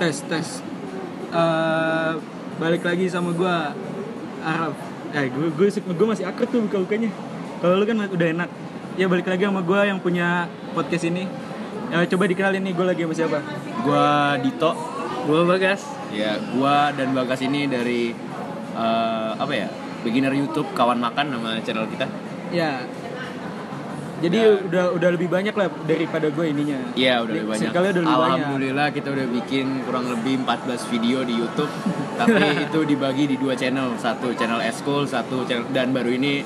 tes tes Eh, balik lagi sama gua Arab eh gue gue masih akrab tuh buka bukanya kalau lu kan udah enak ya balik lagi sama gua yang punya podcast ini Eh, coba dikenalin nih gue lagi sama siapa Gua Dito. Gua Bagas. Ya, gua dan Bagas ini dari eh, apa ya? Beginner YouTube kawan makan nama channel kita. ya jadi udah udah lebih banyak lah daripada gue ininya Ya. Iya, udah Di- lebih banyak. circle-nya udah lebih banyak Alhamdulillah kita udah bikin kurang lebih 14 video di YouTube. Tapi itu dibagi di dua channel, satu channel Eskul, satu channel dan baru ini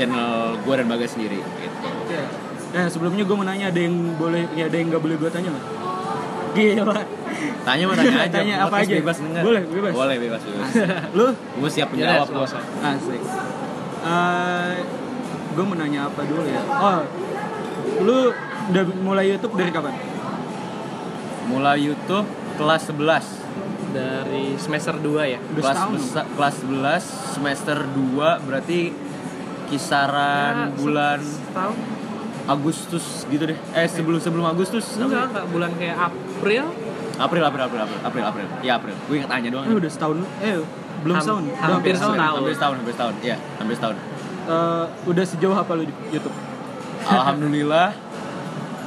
channel gua dan Bagas sendiri gitu. Iya. nah sebelumnya gue mau nanya ada yang boleh ya ada yang nggak boleh gue tanya nggak gila Tanya mah tanya aja. Tanya apa podcast aja? Bebas denger. Boleh, bebas. Boleh bebas bebas. lu Gua siap menjawab Jelas, gua. jelas. Asik. gue mau nanya apa dulu ya? Oh, lu udah mulai YouTube dari kapan? Mulai YouTube kelas 11. Dari semester 2 ya. Udah kelas setahun dong? besa- kelas 11 semester 2 berarti kisaran bulan tahun Agustus gitu deh. Eh sebelum sebelum Agustus. enggak enggak bulan kayak April April April April April April April. Ya April. Gue ingat aja doang. Eh, udah setahun. Eh, belum Ham- setahun. hampir setahun. Hampir setahun, hampir setahun. Iya, hampir setahun. Eh, udah sejauh apa lu di YouTube? Alhamdulillah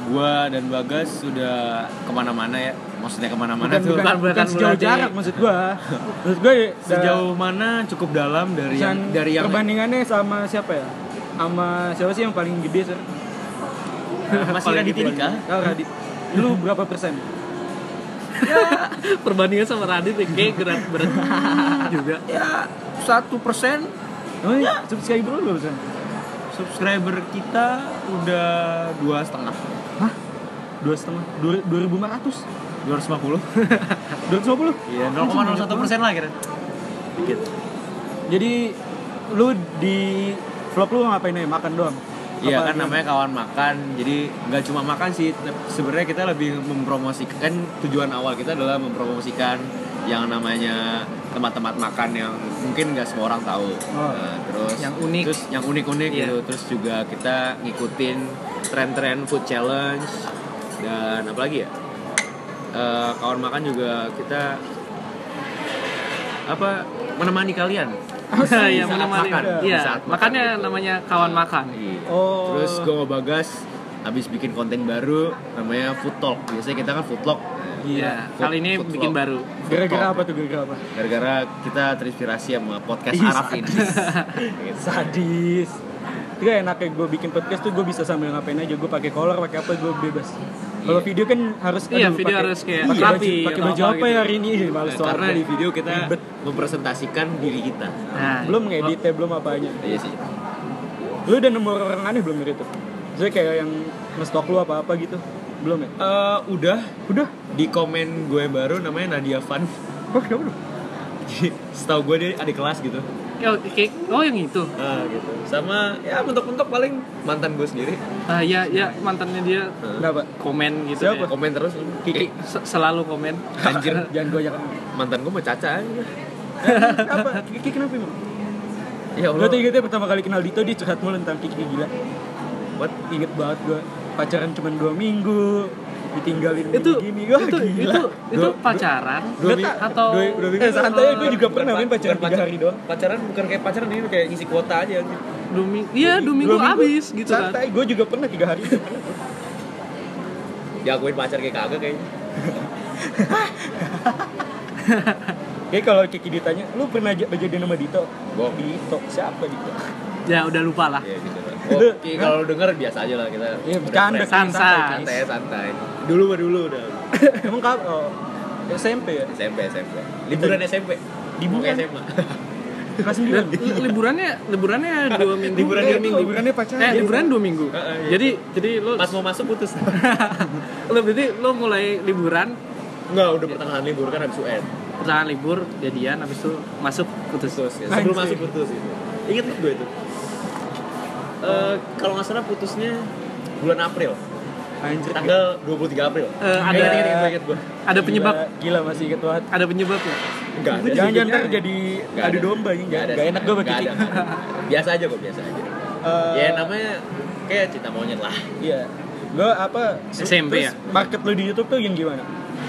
gua dan Bagas sudah kemana-mana ya. Maksudnya kemana-mana bukan, tuh. bukan, bukan bukan sejauh berarti- jarak maksud gua. maksud gua ya, Sejauh mana cukup dalam dari dan yang dari yang perbandingannya sama siapa ya? Sama siapa sih yang paling gede? Sir? masih Paling Raditya Dika. Ya. Kau Radit. Oh, Lu berapa persen? perbandingan sama Radit ya, kayak berat berat juga. Ya satu persen Oh, ya. subscriber lu berapa persen? subscriber kita udah dua setengah Hah? Dua setengah? Dua, dua ribu lima ratus? 250 Dua ratus lima puluh? Iya, 0,01 persen lah kira Dikit Jadi lu di vlog lu ngapain aja? Makan doang? Iya Apa kan gimana? namanya kawan makan, jadi nggak cuma makan sih. tep- Sebenarnya kita lebih mempromosikan kan tujuan awal kita adalah mempromosikan yang namanya tempat-tempat makan yang mungkin nggak semua orang tahu. Oh. Nah, terus Yang unik. terus yang unik-unik Iya. gitu. Terus juga kita ngikutin tren-tren food challenge dan apa lagi ya? Eh, kawan makan juga kita apa menemani kalian. Iya, Oh, Saat menemani. makan. Iya, Saat makan makanya gitu. namanya kawan makan. Iya. Oh. Terus gue mau bagas habis bikin konten baru namanya food talk. Biasanya kita kan food talk. Iya, kali ini Food- food bikin vlog. baru. Gara-gara apa tuh? Gara-gara apa? Gara-gara kita terinspirasi sama podcast Ih, Arab ini. Gitu. Sadis. Itu kan enaknya gue bikin podcast tuh gue bisa sambil ngapain aja. Gue pakai kolor, pakai apa gue bebas. Kalau Iya. video kan harus Iya, aduh, video pakai- harus kayak pakai rapi baju, pakai atau baju apa apa ya gitu. hari ini? Ih, Males soal Iya, Karena di video kita Ribet. mempresentasikan diri kita. Nah, belum ngeditnya, belum apanya. Iya sih. Lu udah nemu orang aneh belum dari itu? Maksudnya kayak yang ngestok lu apa-apa gitu? Belum ya? Eh, udah Udah. di komen gue baru namanya Nadia Van. Wah, Oh, kenapa tuh? Jadi, Setahu gue dia adik kelas gitu. Oh, kayak- oh yang itu. Ah, gitu. Sama ya mentok-mentok paling mantan gue sendiri. Ah, ya, ya mantannya dia Kenapa? komen gitu. Siapa? ya. Komen terus. Kiki Eh, se- selalu komen. Anjir, Jangan goyak. mantan gue mau caca. Kenapa? Kiki kenapa emang? Ya Gue Allah. tuh ingetnya pertama kali kenal Dito dia curhat mulu tentang Kiki gila What? Inget banget gue pacaran cuma 2 minggu Ditinggalin Itu gini itu Wah itu, gila itu, Dua- pacaran dua minggu- atau dua, dua minggu Eh santai gue juga pernah main pacaran 3 hari doang pacaran bukan kayak pacaran ini kayak ngisi kuota aja dua minggu iya dua minggu habis gitu kan Santai gue juga pernah 3 hari diakuin Ya, pacar kayak kagak kayaknya Kayak kalau Kiki ditanya Lu pernah j- jadi nama Dito? Gua. Dito siapa Dito? ya udah lupa lah ya gitu lah Lu- oh, Ki, kalau lu denger biasa aja lah kita Iya, udah bercanda, friends. santai. santai ya, santai dulu mah dulu udah Emang kau oh, SMP ya? SMP SMP liburan SMP di Liburan. SMA Kelas Dan 9 li- liburannya liburannya dua minggu Liburan dua dia- minggu liburannya pacaran. eh liburan dua minggu Heeh, iya. jadi jadi lo pas mau masuk putus lo berarti lo mulai liburan nggak udah pertengahan libur kan habis UN pertama libur jadian habis itu masuk putus putus ya. sebelum Anjing. masuk putus gitu inget nggak gue itu Eh, kalau nggak salah putusnya bulan April Anjir tanggal 23 April Eh, ada- Ingat, ingat, ingat, ingat gue Iya. ada penyebab Gila, gila masih inget banget ada penyebabnya Enggak ada Jangan-jangan sih. ntar jadi Nggak adu ada. domba ini Nggak ada Gak sih. enak gue bagi Nggak Kiki ada, nggak ada. Biasa aja kok, biasa aja. gitu. Eh, Ya namanya kayak cinta monyet lah. Iya. Gue apa? SMP terus ya? Market lu di YouTube tuh yang gimana?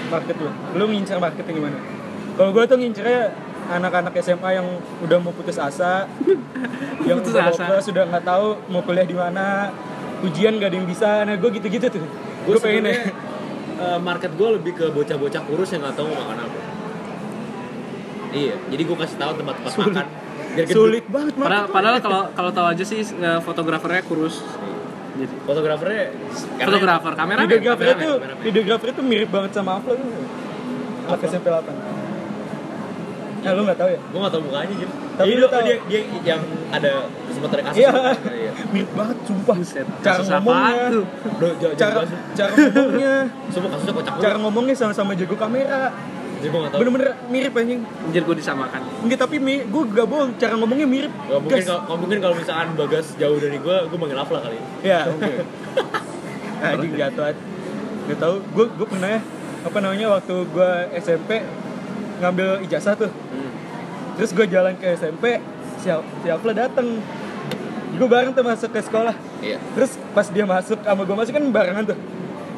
market lu? Lu ngincer marketnya gimana? Kalau gue tuh ngincernya anak-anak SMA yang udah mau putus asa, yang Putus udah asa. hopeless, sudah nggak tahu mau kuliah di mana, ujian gak ada yang bisa, nah gue gitu-gitu tuh. Gue pengen ya. eh, market gue lebih ke bocah-bocah kurus yang nggak tahu mau makan apa. Iya, jadi gue kasih tahu tempat tempat makan. Biar gendut. Sulit banget Padahal, market. padahal kalau kalau tahu aja sih eh, fotografernya kurus. Jadi Iya. Fotografernya, karena- fotografer, kameramen. Videografer kameramen, ya, itu, kameramen. videografer itu mirip banget sama Aflo tuh. Anak SMP 8. Nah, lu gak tahu ya? Gue gak tau mukanya Jim Tapi Jadi lu lu tahu. dia, dia yang ada sempat tarik kasus Iya. Iya. Mirip banget, sumpah. Buset, Cara kasus apaan ngomongnya, tuh? Bro, jangan cara, jangan bahas. cara ngomongnya, Semua kasusnya kocak cara ngomongnya sama-sama jago kamera. Jadi gue gak tau Bener-bener mirip anjing. Anjir gue disamakan. Enggak tapi mi, gue gak bohong, cara ngomongnya mirip. Gak mungkin, Gas. kalau- gak mungkin kalau misalkan Bagas jauh dari gue, gue manggil Afla kali Ya. Anjing jatuh. aja. Gak tau, gue gue pernah ya, apa namanya waktu gue SMP ngambil ijazah tuh. Terus gue jalan ke SMP, siap siapa dateng. Gue bareng tuh masuk ke sekolah. Iya Terus pas dia masuk sama gue masuk kan barengan tuh.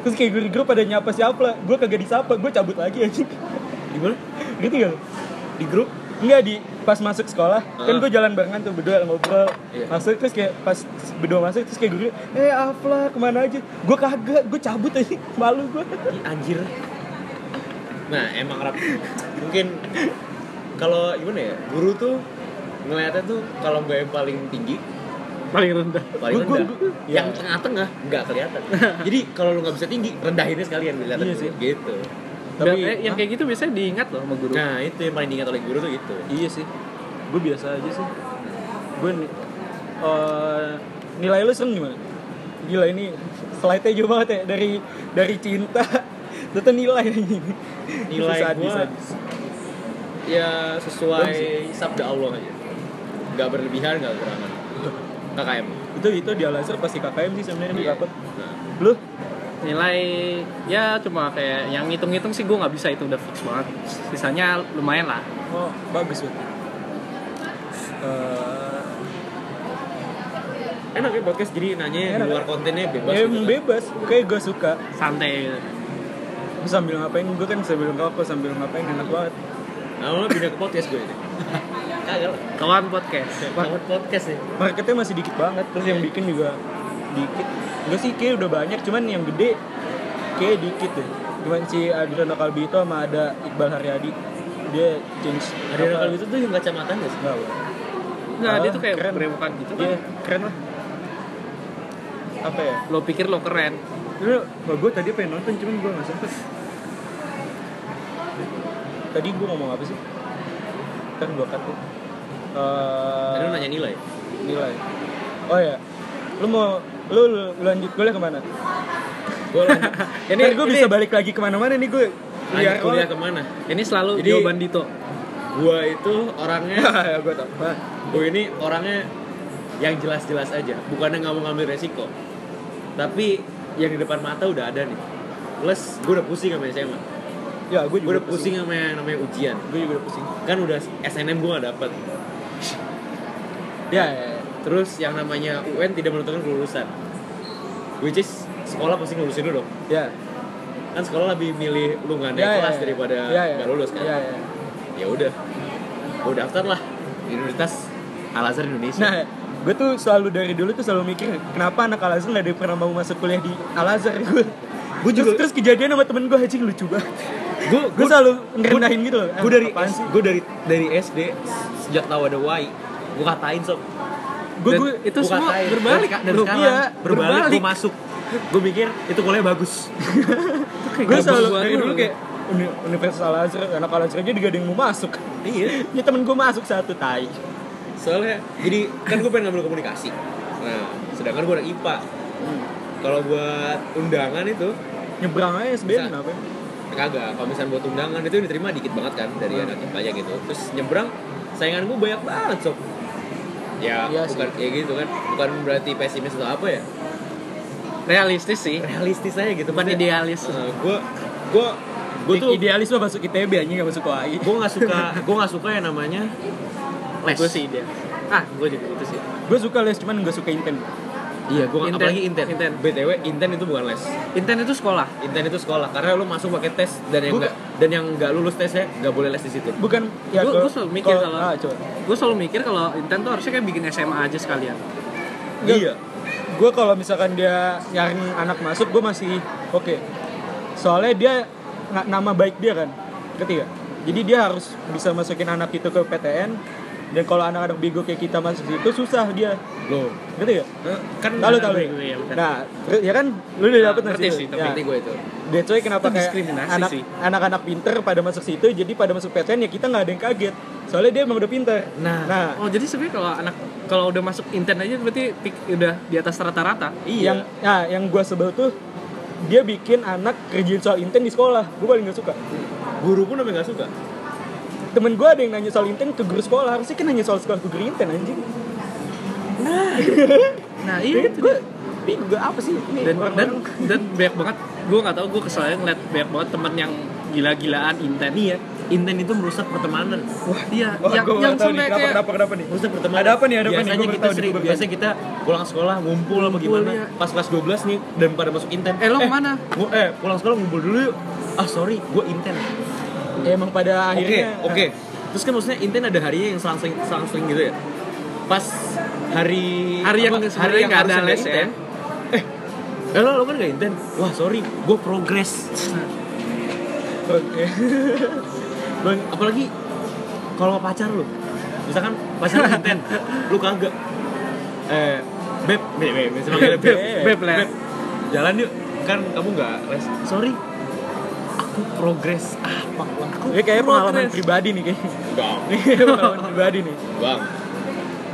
Terus kayak guru-guru pada nyapa siapa, gue kagak disapa, gue cabut lagi anjing. Di mana? Gitu gak? lu? Di grup? Enggak di pas masuk sekolah kan Heeh. gue jalan barengan tuh berdua ngobrol Iya. masuk terus kayak pas berdua masuk terus kayak guru eh Afla kemana aja gue kagak gue cabut aja malu gue Ih, anjir Nah emang rap Mungkin kalau gimana ya, guru tuh ngeliatnya tuh kalau nggak yang paling tinggi Paling rendah. paling Gua- gua- rendah gua- yang iya. tengah-tengah nggak kelihatan jadi kalau lu nggak bisa tinggi rendahinnya sekalian kelihatan Iya sih. gitu Tapi- eh, yang kayak gitu biasanya diingat loh sama guru. nah itu yang paling diingat oleh guru tuh gitu iya sih gue biasa aja sih gue nih nilai lu serem gimana gila ini slide-nya jauh banget ya dari dari cinta tetap nilai anjing. Nilai Sadis, gua- sadis. ya Belum sesuai sabda Allah aja nggak berlebihan nggak kekurangan KKM itu itu di alasan pasti KKM sih sebenarnya gue Iya. takut nah, lu Nilai ya cuma kayak yang ngitung-ngitung sih gue nggak bisa itu udah fix banget. Sisanya lumayan lah. Oh, bagus tuh. Eh, enak ya podcast jadi nanya di Enak, luar ya. kontennya bebas ya, gitu kan. bebas, kayak gue suka. Santai. gitu. Terus sambil ngapain? Gue kan sambil ngerokok, sambil ngapain enak banget. nah lo pindah ke podcast gue ini kagak lah. Kawan podcast. banget podcast ya. nih Marketnya masih dikit banget, terus yang bikin juga dikit. Gue sih kayak udah banyak, cuman yang gede kayak dikit deh. Cuman si Adriano Calbito sama ada Iqbal Haryadi dia change. ada yang kalau gitu tuh yang kacamata nggak sih Nggak, Nah, dia tuh kayak Keren. berewokan gitu kan. Dia keren lah. Apa ya? Lo pikir lo keren. Dulu, kalau gue tadi pengen nonton, cuman gue gak sempet Tadi gue ngomong apa sih? Ntar gue cut deh. Eh, tadi lo nanya nilai Nilai Oh ya Lu mau Lu, lu lanjut kuliah kemana? gue lanjut Ini Ini- gue ini- bisa balik lagi kemana-mana nih Iya, gue lanjut kuliah kemana Ini selalu Jadi- jawaban Dito. gue itu orangnya gue Ya, tau Hah? gue ini orangnya yang jelas-jelas aja bukannya nggak mau ngambil resiko tapi yang di depan mata udah ada nih plus gue udah pusing sama SMA Ya gue gue juga udah pusing sama yang namanya ujian Gue juga udah pusing kan udah SNM gue gak dapet Ya ya, ya. terus yang namanya UN tidak menentukan kelulusan which is sekolah pasti ngelulusin lu dong ya kan sekolah lebih milih lu nggak Ya, naik ya, kelas ya. daripada Ya, ya. nggak lulus kan Ya, ya. ya udah gue daftar lah Universitas Al Azhar Indonesia Nah, gue tuh selalu dari dulu tuh selalu mikir kenapa anak Al Azhar nggak ada yang pernah mau masuk kuliah di Al Azhar gue. Gue juga terus, terus kejadian sama temen gue anjing lucu banget. gue Gue selalu ngerendahin gitu loh. gue dari Apaan sih? gue dari dari SD sejak tahu ada Wai gue katain sob Gue Dan gue itu Gua semua katain. berbalik dan, dan bro. sekarang Iya, berbalik, berbalik. gue masuk gue mikir itu kuliah bagus gue selalu Gua- dari gua- dulu kayak Uni- Universitas Al Azhar anak Al Azhar aja juga ada yang mau masuk. iya Ya temen gue masuk satu tai. soalnya jadi kan gue pengen ngambil komunikasi nah sedangkan gue anak IPA kalau buat undangan itu Nyebrang aja SBM Bisa. kenapa? ya? kagak kalau misalnya buat undangan itu yang diterima dikit banget kan dari Hmm. anak IPA aja gitu terus nyebrang saingan gue banyak banget sob ya Iya bukan ya gitu kan bukan berarti pesimis atau apa ya Realistis sih. realistis aja gitu Bukan Maksudnya, idealis. eh, gue gue gue I- tuh idealis lo masuk ITB anjing gak masuk UI. gue nggak suka gue nggak suka yang namanya les Gue sih dia. Ah, gue juga gitu sih. Gue suka les cuman gak suka inten. Iya, gua Inten. apalagi inten. Inten. BTW inten itu bukan les. Inten itu sekolah. Inten itu sekolah karena lu masuk pakai tes dan yang Gua- enggak dan yang enggak lulus tesnya enggak boleh les di situ. bukan Gua- kalau- gua selalu mikir kalau- kalau- ah, coba. Gue selalu mikir kalau Inten tuh harusnya kayak bikin SMA aja sekalian. Nggak. Iya. gue kalau misalkan dia nyaring anak masuk gue masih oke soalnya dia na- nama baik dia kan ketiga jadi dia harus bisa masukin anak itu ke PTN dan kalau anak-anak bego kayak kita masuk situ susah dia Loh, ngerti gak? eh, kan Tahu tahu. bego, iya, benar. Nah, ter- ya kan lu udah Nah, dapet ngerti nasi sih, tapi ya. ini gue itu. That's why kenapa Itu kayak diskriminasi anak, sih. anak-anak pinter pada masuk situ jadi pada masuk PTN ya kita nggak ada yang kaget soalnya dia emang udah pinter Nah. nah Oh jadi sebenarnya kalau anak kalau udah masuk Inten aja berarti pik- udah di atas rata-rata. Iya. yang nah, yang gue sebel tuh dia bikin anak kerjain soal inten di sekolah gue paling gak suka guru pun sampai enggak suka. temen gue ada yang nanya soal inten ke guru sekolah harusnya kan nanya soal sekolah ke guru inten anjing Nah iya itu. gue dia. gue apa sih ini Dan dan orang-orang? dan banyak banget. Gue nggak tahu gue kesalnya ngeliat banyak banget temen yang gila-gilaan Inten. Iya. Inten itu merusak pertemanan. wah Iya. wah, yang gua nggak yang tahu nih, sampai kenapa, kayak kenapa kenapa nih Merusak pertemanan. Ada apa nih, ada apa nih? Biasanya Gua kita bertahu sering, nih, gua biasanya kita pulang sekolah ngumpul apa gimana. iya. Pas kelas 12 nih dan pada masuk inten. Eh, lo kemana? ngu- eh, pulang sekolah ngumpul dulu yuk. Ah, sorry, gue inten. Ya, emang pada Oke, akhirnya oke. Terus kan maksudnya Inten ada harinya yang selang-seling selang-seling gitu ya. Pas hari Hari yang apa, sebenarnya nggak ada harusnya les ya. Inten, Eh, lo, lo kan gak Inten? Wah, sorry, gue progres. oke. Bang, apalagi kalau sama pacar lo. Misalkan pacar lo Inten, lu kagak. Eh, beb, beb, beb, beb, beb, beb, eh, Beb, les. Jalan yuk, kan kamu nggak les. Sorry, aku progres. Ah, pak, aku ini kayak pengalaman progres. pribadi nih kayaknya Bang, Ini kayak pengalaman Iya, pribadi nih bang.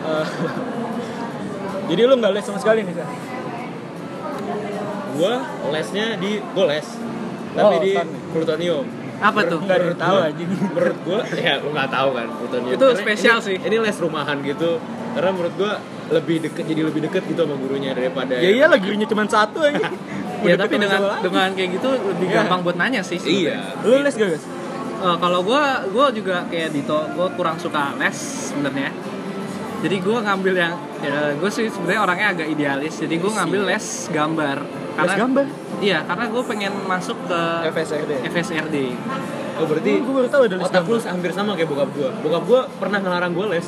Eh, jadi lu nggak les sama sekali nih Sa? gua lesnya di gua les tapi Oh, di kan. plutonium Apa tuh? nggak ada yang tahu Iya. anjing menurut gua ya lu nggak tahu kan plutonium Itu Karena spesial ini, sih. ini les rumahan gitu karena menurut gua lebih deket jadi lebih deket gitu sama gurunya daripada ya iya. iyalah gurunya cuma satu aja Ya tapi dengan dengan kayak gitu lebih Iya. gampang buat nanya sih. iya lu les gak guys? Eh, kalau gue gue juga kayak Dito gue kurang suka les sebenarnya jadi gue ngambil yang gue sih sebenarnya orangnya agak idealis jadi gue ngambil les gambar karena les gambar iya karena gue pengen masuk ke FSRD FSRD oh berarti gue baru tahu ada les otak gambar lu hampir sama kayak bokap gua bokap gua pernah ngelarang gua les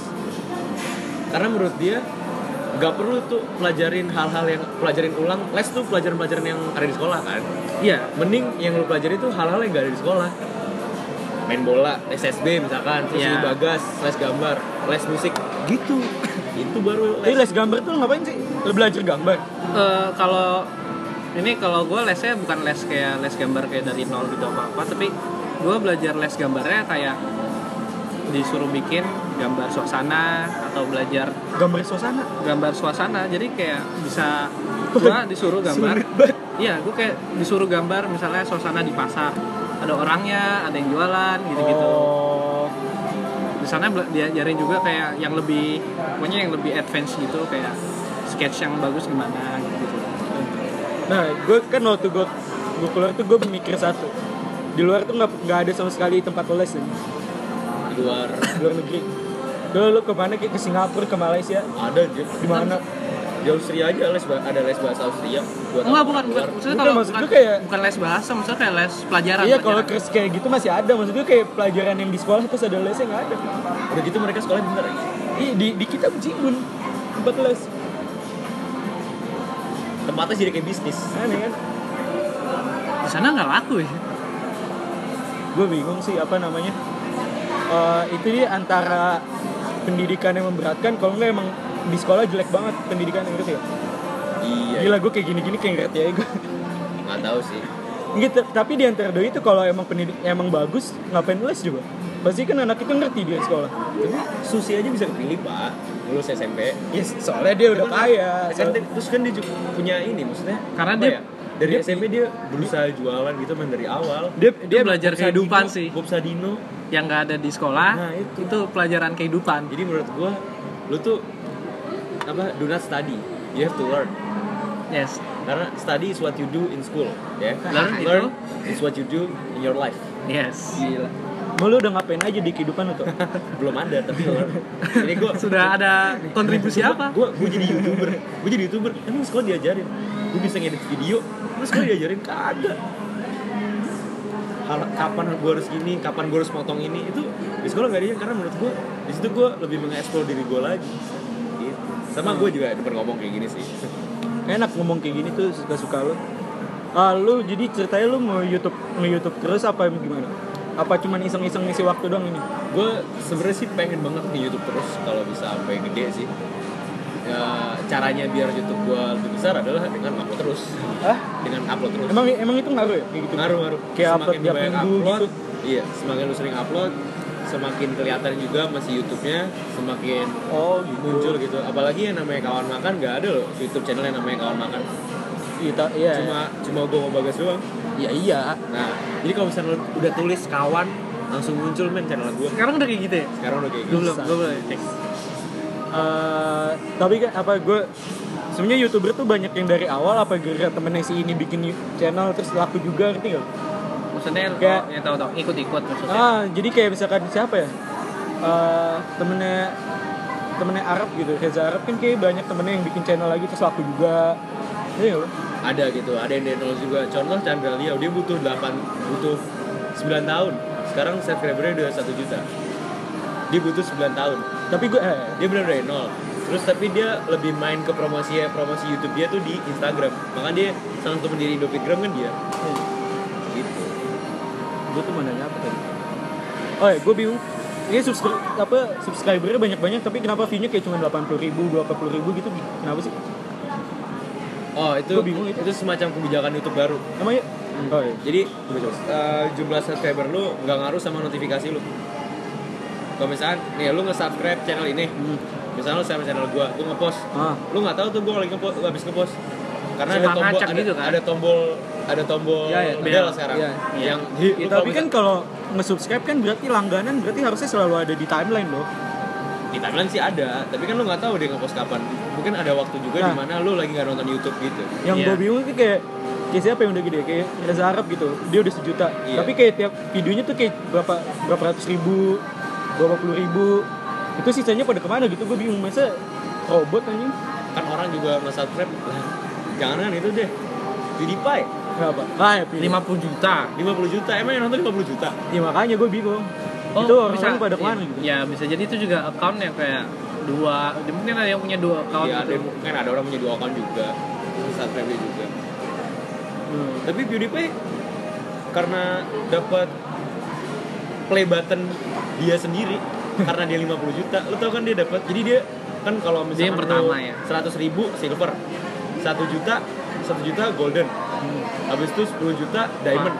karena menurut dia nggak perlu tuh pelajarin hal-hal yang pelajarin ulang les tuh pelajaran-pelajaran yang ada di sekolah kan iya mending yang lu pelajari itu hal-hal yang gak ada di sekolah main bola SSB misalkan terus Iya. lu bagas les gambar les musik gitu itu baru Jadi les les gambar tuh ngapain sih? Lu belajar gambar? Eh, kalau ini kalau gue lesnya bukan les kayak les gambar kayak dari nol gitu apa apa tapi gue belajar les gambarnya kayak disuruh bikin gambar suasana atau belajar Gambar suasana? gambar suasana jadi kayak bisa gua disuruh gambar Sulit banget iya gua kayak disuruh gambar misalnya suasana di pasar ada orangnya ada yang jualan gitu gitu Oh, di sana bela- diajarin juga kayak yang lebih pokoknya yang lebih advance gitu kayak sketch yang bagus gimana gitu Nah, gue kan waktu gue gue keluar tuh gue mikir satu di luar tuh nggak nggak ada sama sekali tempat les nih di luar di luar negeri Dulu lu kemana kayak ke Singapura ke Malaysia ada aja di mana di Austria aja les ba- ada les bahasa Austria buat enggak orang luar. bukan bukan maksudnya Bukan, kalau maksud bukan, gua kayak- bukan les bahasa maksudnya kayak les pelajaran iya kalau pelajaran. kris kayak gitu masih ada maksud gue kayak pelajaran yang di sekolah terus ada lesnya nggak ada udah gitu mereka sekolah bener ya? Ih, di di kita Cimbun tempat les tempatnya jadi kayak bisnis aneh kan di sana nggak laku ya gue bingung sih apa namanya Eh, itu dia antara pendidikan yang memberatkan kalau nggak emang di sekolah jelek banget pendidikan yang gitu ya iya gila gue kayak gini-gini kayak ngerti ya gue nggak tahu sih gitu tapi di antara doi itu kalau emang pendidik emang bagus ngapain les juga pasti kan anak itu ngerti dia di sekolah tapi Susi aja bisa kepilih pak lulus SMP yes soalnya dia udah kaya Kan dia- terus kan dia juga punya ini maksudnya Karena apa dia- ya, dari SMP dia berusaha jualan gitu men dari awal dia dia belajar Bob Sadino, kehidupan sih Bob Sadino yang nggak ada di sekolah Nah, itu. pelajaran kehidupan jadi menurut gua lu tuh apa do not study you have to learn yes karena study is what you do in school ya Learn gitu? itu- is what you do in your life Iya. yes gila Mau lu udah ngapain aja di kehidupan lu tuh? belum ada tapi ini gue Sudah ada kontribusi apa? gue gue jadi youtuber gue jadi youtuber emang sekolah diajarin gue bisa ngedit video emang sekolah diajarin kagak Hal- kapan gue harus gini kapan gue harus motong ini itu di sekolah gak diajarin karena menurut gue di situ gue lebih mengeksplor diri gue lagi Gitu. sama gue juga depan ngomong kayak gini sih Enak ngomong kayak gini tuh suka-suka lu. Ah, lu jadi ceritanya lu mau YouTube, mau YouTube terus apa gimana? Apa cuman iseng-iseng ngisi waktu doang ini? gue sebenarnya sih pengen banget di YouTube terus kalau bisa sampai gede sih Ya, caranya biar YouTube gue lebih besar adalah dengan upload terus Hah? dengan upload terus Emang emang itu ngaruh ya? Kayak gitu. ngaruh ngaruh Kayak upload lu tiap banyak minggu gitu. iya semakin lu sering upload semakin kelihatan juga masih YouTube-nya semakin Oh, gitu. muncul gitu apalagi yang namanya kawan makan nggak ada loh YouTube channel yang namanya kawan makan Iya, ta- iya. cuma cuma gue mau bagas doang ya iya. nah jadi kalau misalnya lu udah tulis kawan langsung muncul men channel gue Sekarang udah kayak gitu ya? sekarang udah kayak Gue gitu belum, gue belum cek. Eh, tapi kan apa gue sebenarnya youtuber tuh banyak yang dari awal apa gara-gara temennya si ini bikin yu- channel terus laku juga ngerti gak? Maksudnya Kayak- oh, ya tahu-tahu ikut-ikut maksudnya. Ah, jadi kayak misalkan siapa ya? Eh, temennya temennya Arab gitu, Reza Arab kan kayak banyak temennya yang bikin channel lagi terus laku juga. Iya, nggak? ada gitu ada yang dari nol juga contoh Chandra Liao dia butuh 8 butuh 9 tahun sekarang subscribernya udah 1 juta dia butuh 9 tahun tapi gue eh, dia benar dari nol terus tapi dia lebih main ke promosi promosi YouTube dia tuh di Instagram makanya dia salah satu pendiri Indofitgram kan dia iya. gitu gue tuh mau nanya apa tadi? Oh ya, gue bingung. Ini subscribe apa subscribernya banyak-banyak tapi kenapa view-nya kayak cuma 80 ribu, 20 ribu gitu? Kenapa sih? oh itu Gua bingung itu. itu. semacam kebijakan YouTube baru Emangnya? Oh iya. jadi eh, jumlah subscriber lu nggak ngaruh sama notifikasi lu kalau misalkan nih lu nge-subscribe channel ini Hmm. misalnya lu subscribe channel gua gua ngepost Ah, lu nggak tahu tuh gua lagi ngepost gua habis ngepost karena ada Suka tombol ngacak ada, gitu kan? ada tombol ada tombol Iya, iya, bel bel. sekarang Iya, iya. yang jadi lu ya, kalau tapi kan kalau nge-subscribe kan berarti langganan berarti harusnya selalu ada di timeline loh. di timeline sih ada tapi kan lu nggak tahu dia ngepost kapan mungkin ada waktu juga Nah. di mana lu lagi nggak nonton YouTube gitu Yang Iya. gue bingung tuh kayak kayak siapa yang udah gede kayak Reza Arab gitu. Dia udah sejuta. Iya. Tapi kayak tiap videonya tuh kayak berapa berapa ratus ribu, berapa puluh ribu. Itu sisanya pada kemana gitu gue bingung masa robot anjing. kan orang juga nge subscribe jangan itu deh PewDiePie Kenapa? Ah, ya, 50 juta. 50 juta emang yang nonton 50 juta Ya makanya gue bingung. Oh, itu orang-orang pada kemana gitu. Ya bisa jadi itu juga account yang kayak dua, mungkin ada yang punya dua account Iya, ada gitu. kan ada orang punya dua account juga subscribe dia juga Hmm. tapi PewDiePie karena dapat play button dia sendiri karena dia 50 juta lo tau kan dia dapat jadi dia kan kalau misalnya Dia yang pertama ya. 100 ribu silver 1 juta 1 juta golden habis itu 10 juta diamond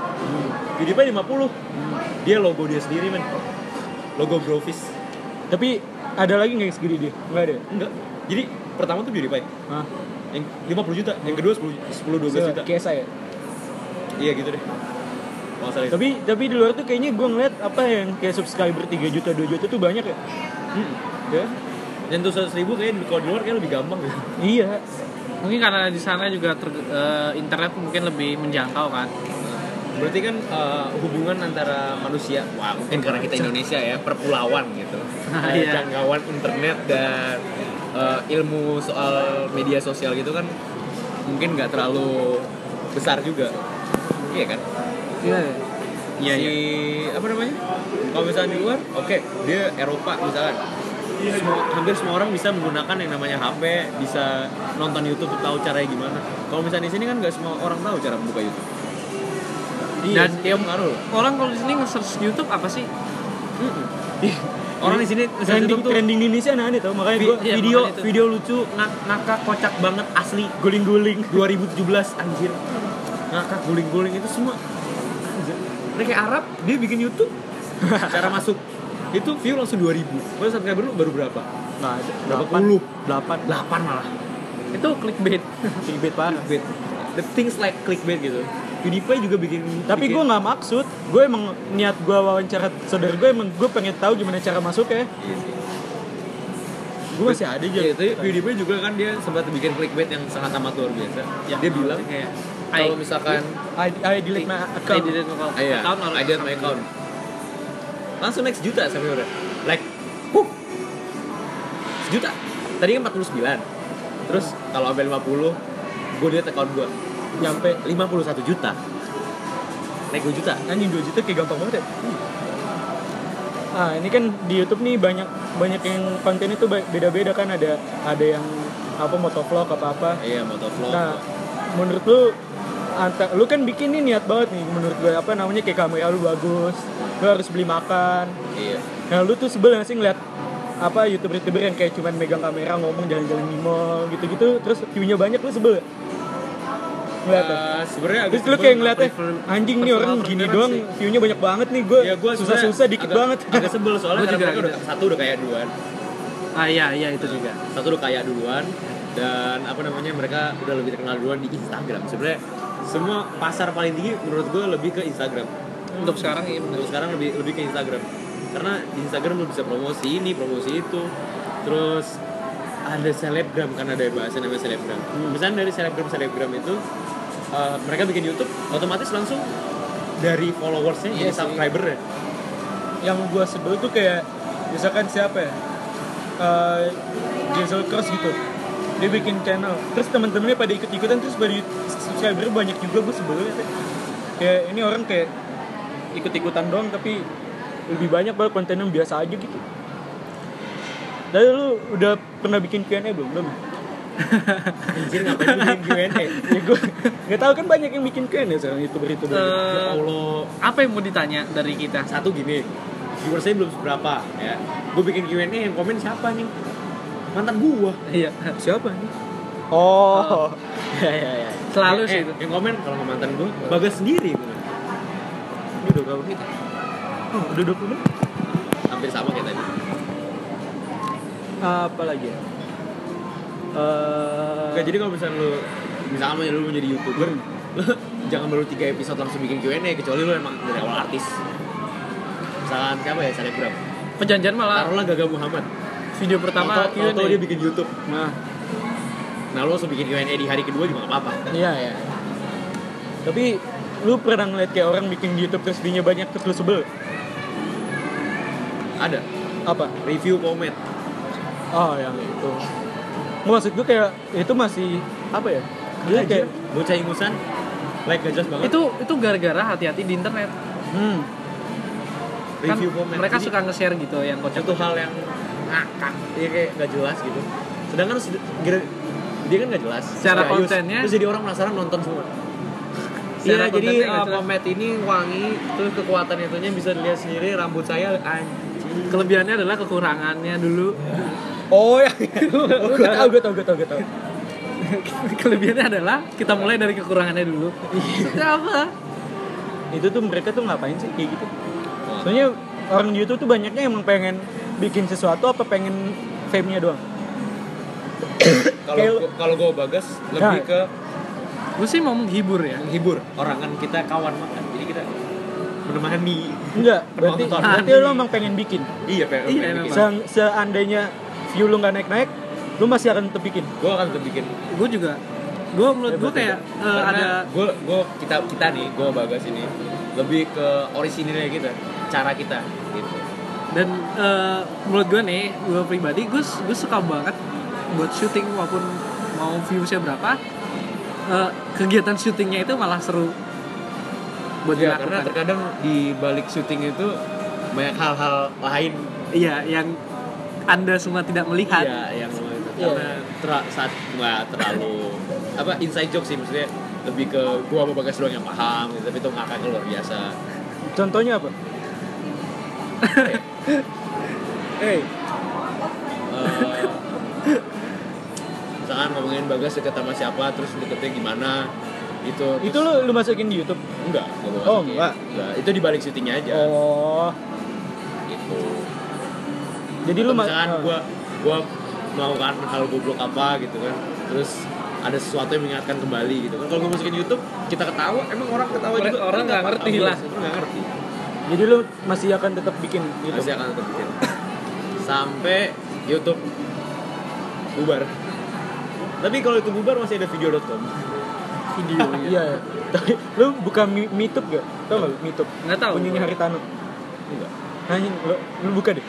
PewDiePie 50 dia logo dia sendiri men logo Brofist Tapi ada lagi nggak yang segede dia? Nggak ada. ya? enggak jadi pertama tuh PewDiePie Hah? yang 50 juta yang kedua 10 10 12 juta Kayak saya. iya gitu deh Kalau nggak salah itu. Tapi tapi di luar tuh kayaknya gue ngeliat apa yang kayak subscriber 3 juta 2 juta tuh banyak ya. Mm-mm. Ya? Dan tuh seratus ribu kayaknya kalau di luar kayak lebih gampang gitu. Iya. Mungkin karena di sana juga ter- eh, internet mungkin lebih menjangkau kan. Berarti kan eh, hubungan antara manusia, wah mungkin karena kita Indonesia ya perpulauan gitu, Nah, Eh, iya. jangkauan internet dan eh, ilmu soal media sosial gitu kan mungkin nggak terlalu besar juga, iya kan? Iya. Iya, si iya. apa namanya? Kalau misalnya di luar, oke, dia Eropa misalkan. Semua- hampir semua orang bisa menggunakan yang namanya HP, bisa nonton YouTube, tahu caranya gimana. Kalau misalnya di sini kan nggak semua orang tahu cara membuka YouTube. Iya, Dan dia pengaruh. Orang kalau di sini nge-search YouTube apa sih? Orang di sini misalnya Trending, YouTube tuh trending di Indonesia nah ini tau makanya vi- gue iya, video makanya itu. video lucu ngak- ngakak kocak banget asli guling-guling. 2017 anjir. Ngakak guling-guling itu semua. Mereka Arab, dia bikin YouTube cara masuk itu view langsung 2000. Baru subscriber lu baru berapa? Nah, ada Berapa delapan. puluh? Delapan. 8 malah. Itu clickbait. Clickbait parah. clickbait. The things like clickbait gitu. PewDiePie juga bikin. Tapi gue bikin- nggak maksud, gue emang niat gue wawancara saudara gue emang gue pengen tahu gimana cara masuk ya. Iya sih. Gue masih ada aja. Iya, tapi PewDiePie juga kan dia sempat bikin clickbait yang sangat amat luar biasa. Iya. Ya, dia bilang kayak kalau misalkan I, I delete my I account. Iya, didn't know ayah, account or I did my account. langsung naik sejuta sampai udah like huh sejuta tadi kan 49 terus kalau sampai 50 gue lihat account gue nyampe 51 juta naik 2 juta anjing 2 juta kayak gampang banget ya ah ini kan di YouTube nih banyak banyak yang konten itu ba- beda-beda kan ada ada yang apa motovlog apa apa iya motovlog nah menurut lu anta, lu kan bikin nih niat banget nih menurut gue apa namanya kayak kamera lu bagus lu harus beli makan iya nah lu tuh sebel nggak sih ngeliat apa youtuber youtuber yang kayak cuman megang kamera ngomong jalan-jalan di mall gitu-gitu terus view-nya banyak lu sebel nggak? ngeliat ya? Eh, sebenarnya agak Terus lu sebel. kayak ngeliatnya prefer- anjing nih orang personal gini preference doang view-nya banyak banget nih gue Iya, gua susah-susah sebenarnya dikit agak- banget. agak sebel soalnya Gua karena juga mereka udah gitu. satu udah kayak duluan ah iya iya itu juga satu udah kaya duluan dan apa namanya mereka udah lebih terkenal duluan di Instagram sebenarnya semua pasar paling tinggi menurut gue lebih ke Instagram untuk sekarang iya bener. Terus sekarang lebih lebih ke Instagram karena di Instagram lu bisa promosi ini promosi itu terus ada selebgram kan ada bahasa namanya selebgram Hmm. misalnya dari selebgram selebgram itu eh, mereka bikin YouTube otomatis langsung dari followersnya Iya jadi sih. subscribernya Yang gue sebel tuh kayak misalkan siapa ya? Eh, Jazel Cross gitu. Dia bikin channel. Terus teman-temannya pada ikut-ikutan terus pada subscriber banyak juga gue sebelnya. Kayak ini orang kayak ikut-ikutan doang tapi lebih banyak banget konten yang biasa aja gitu. Lalu lu udah pernah bikin Q&A belum? Belum. ya? anjir ngapain lu bikin Q&A ya gue nggak tahu kan banyak yang bikin Q&A sekarang gitu. youtuber youtuber. Eh, ya Allah apa yang mau ditanya dari kita satu gini viewersnya belum seberapa ya gue bikin Q&A yang komen siapa nih mantan gua iya Siapa nih? Oh, ya ya ya Eh, Selalu sih eh, itu. yang komen kalau nggak mantan gua gitu, bagas sendiri gua. ini udah berapa menit? ya? Oh, udah 20 menit. hampir sama kayak tadi Apa lagi ya? Eh, Nggak, jadi kalau misalnya lu misalkan lu lu menjadi youtuber lu jangan baru tiga episode langsung bikin Q&A kecuali lu emang dari awal artis misalkan siapa ya selebgram perjanjian malah taruhlah Gaga Muhammad video pertama Atau- atau dia Q&A. bikin YouTube nah, nah lu langsung bikin Q&A di hari kedua juga nggak apa-apa iya ya. Tapi lu pernah ngeliat kayak orang bikin di YouTube terus videonya banyak terus lu sebel? ada Apa? review komen Oh, yang itu. Nggak, Maksud gue kayak itu masih apa ya? Dia kayak bocah ingusan like gak jelas banget itu itu gara-gara hati-hati di internet hmm, kan review komen mereka Jadi, suka nge-share gitu yang kocak satu hal yang ngakak ya kayak gak jelas gitu sedangkan sed- gira- dia kan gak jelas Secara serius. kontennya- terus jadi orang penasaran nonton semua Secara Iya jadi kontennya nggak uh, jelas. komet ini wangi terus kekuatan itunya bisa dilihat sendiri rambut saya anjing kelebihannya adalah kekurangannya dulu Oh ya, gue tau, gue tau, gue tau, gue tau. kelebihannya adalah kita mulai dari kekurangannya dulu Iya. Itu apa itu tuh mereka tuh ngapain sih kayak gitu soalnya orang di YouTube tuh banyaknya emang pengen bikin sesuatu apa pengen fame-nya doang kalau gua- kalau gue bagas lebih Nah. ke gue sih mau menghibur ya menghibur orang kan kita kawan makan jadi kita menemani enggak berarti Penonton. berarti lo emang pengen bikin iya pak Iya, iya, memang. Se- seandainya view lo nggak naik naik lo masih akan tetap bikin gue akan tetap bikin gue juga gue menurut gue kayak eh, ada karena gue gue kita kita nih gue bagas ini lebih ke orisinilnya kita cara kita gitu dan eh, menurut gue nih gue pribadi gue gue suka banget buat syuting walaupun mau viewsnya berapa eh, kegiatan syutingnya itu malah seru buat Iya, ya, karena dilakukan terkadang di balik syuting itu banyak hal-hal lain iya yang anda semua tidak melihat ya yang itu. Iya. karena ter- saat nggak terlalu apa inside joke sih maksudnya lebih ke gua sama bagas doang yang paham gitu, tapi itu ngakak luar biasa contohnya apa eh Eh, misalkan ngomongin bagas deket sama siapa terus deketnya gimana gitu, itu itu lo lo masukin di YouTube enggak nggak gua Oh, masukin. enggak. enggak itu di balik syutingnya aja oh gitu jadi Atau lo ma- misalkan oh. gua gua melakukan hal goblok apa gitu kan terus ada sesuatu yang mengingatkan kembali gitu kan kalau gua masukin YouTube kita ketawa emang orang ketawa Orang- juga orang nggak apa-apa, ngerti orang lah. nggak ngerti jadi lo masih akan tetap bikin YouTube pasti akan tetap bikin sampai YouTube bubar tapi kalau itu bubar masih ada video.com videonya iya ya. tapi lo buka Mi- Meetup gak tau gak Meetup Nggak tahu. punyanya Haritano enggak Anjing, lo, lo buka deh.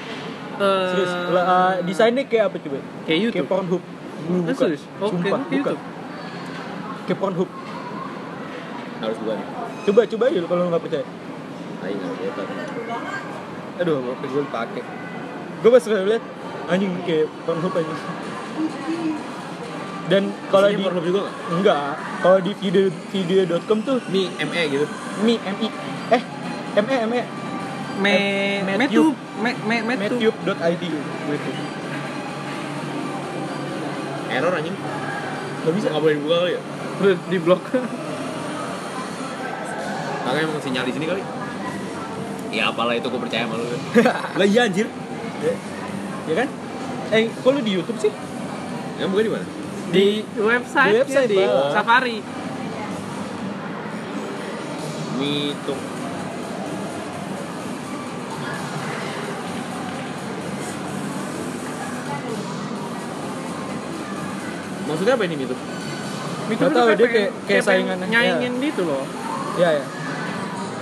Eh, Serius, lo, eh, desainnya kayak apa coba? kayak Kayak YouTube. Pornhub. Lu Eh, buka. serius? Oh, Sumpah, kayak buka. YouTube. Kayak Pornhub. harus bukan Coba coba aja lo kalau lo nggak percaya. ayo nggak kelihatan Aduh, mau gue pakai. Gue pas udah lihat anjing kayak Pornhub anjing. Dan kalau Isinya di Pornhub juga nggak enggak, kalau di video video.com tuh mi me gitu mi mi eh me me Eh, Me Me- Metube, Me Me Metube. metube.id Metube. error anjing Gak bisa. nggak boleh dibuka kali ya Udah di blok. kakak emang sinyal di sini kali ya apalah itu gue percaya sama lu Lah iya anjir. Ya, ya kan? Eh, kok lu di YouTube sih? yang buka di mana di website, Di website, di Pak. Safari. mitung maksudnya apa ini mitung Mitube tahu, dia tuh pengen- kayak- kayak kan pengen saingannya. Nyaingin gitu loh. Iya, ya.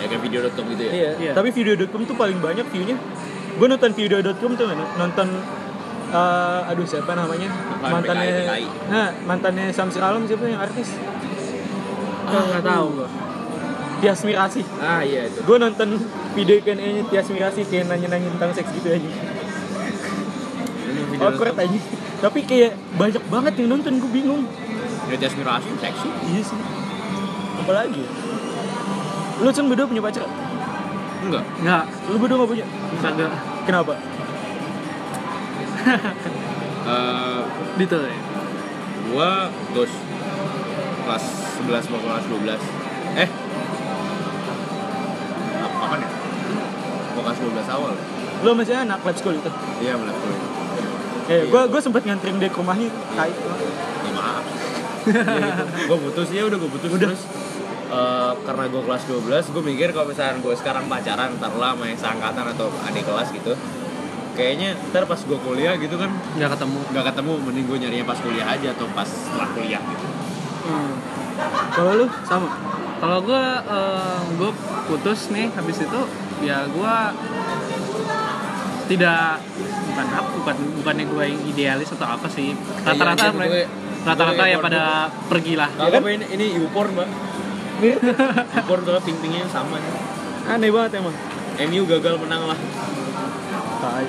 ya kayak video.com gitu ya Iya. Iya. Tapi video.com tuh paling banyak view-nya. Gue nonton video.com tuh nggak? nonton eh, aduh siapa namanya? Apaan, mantannya PKI. Nah, mantannya Samsir Alam siapa yang artis? Ah, nggak tahu gua. Tias Mirasih. ah iya itu Gue nonton video kayaknya Tias Mirasih kayak nanya-nanya tentang seks gitu aja. ini video Awkward aja. Tapi kayak banyak banget yang nonton gue bingung. Yotes Mirasi seksi Iya sih. Apalagi? Lu Cun berdua punya pacar? enggak Nggak, Lu berdua gak punya? kagak. Kenapa? Eh, Detail ya. gua dos kelas 11 mau kelas 12 eh apa kapan ya mau kelas 12 awal ya? Lu masih anak lab school itu? iya benar Eh, gua gua sempat nganterin dia ke rumahnya. Tai. ya maaf gue Iya, putus ya udah gue putus terus eh, karena gue kelas 12 gue mikir kalau misalkan gue sekarang pacaran ntar lah sama yang seangkatan atau adik kelas gitu kayaknya ntar pas gue kuliah gitu kan Nggak ketemu. nggak ketemu mending gue nyarinya pas kuliah aja atau pas setelah kuliah gitu Hmm. Kalau lu sama. Kalau gue, gue putus nih habis itu, ya gue tidak bukan apa bukan bukannya gue yang idealis atau apa sih Iya, rata-rata anjir, mereka- gue- rata-rata gue ya kayak pada pergilah Gak apa ini, ini U-Porn bang Iya. U-Porn tuh ping-pingnya sama nih. Aneh banget emang. MU gagal menang lah Tai.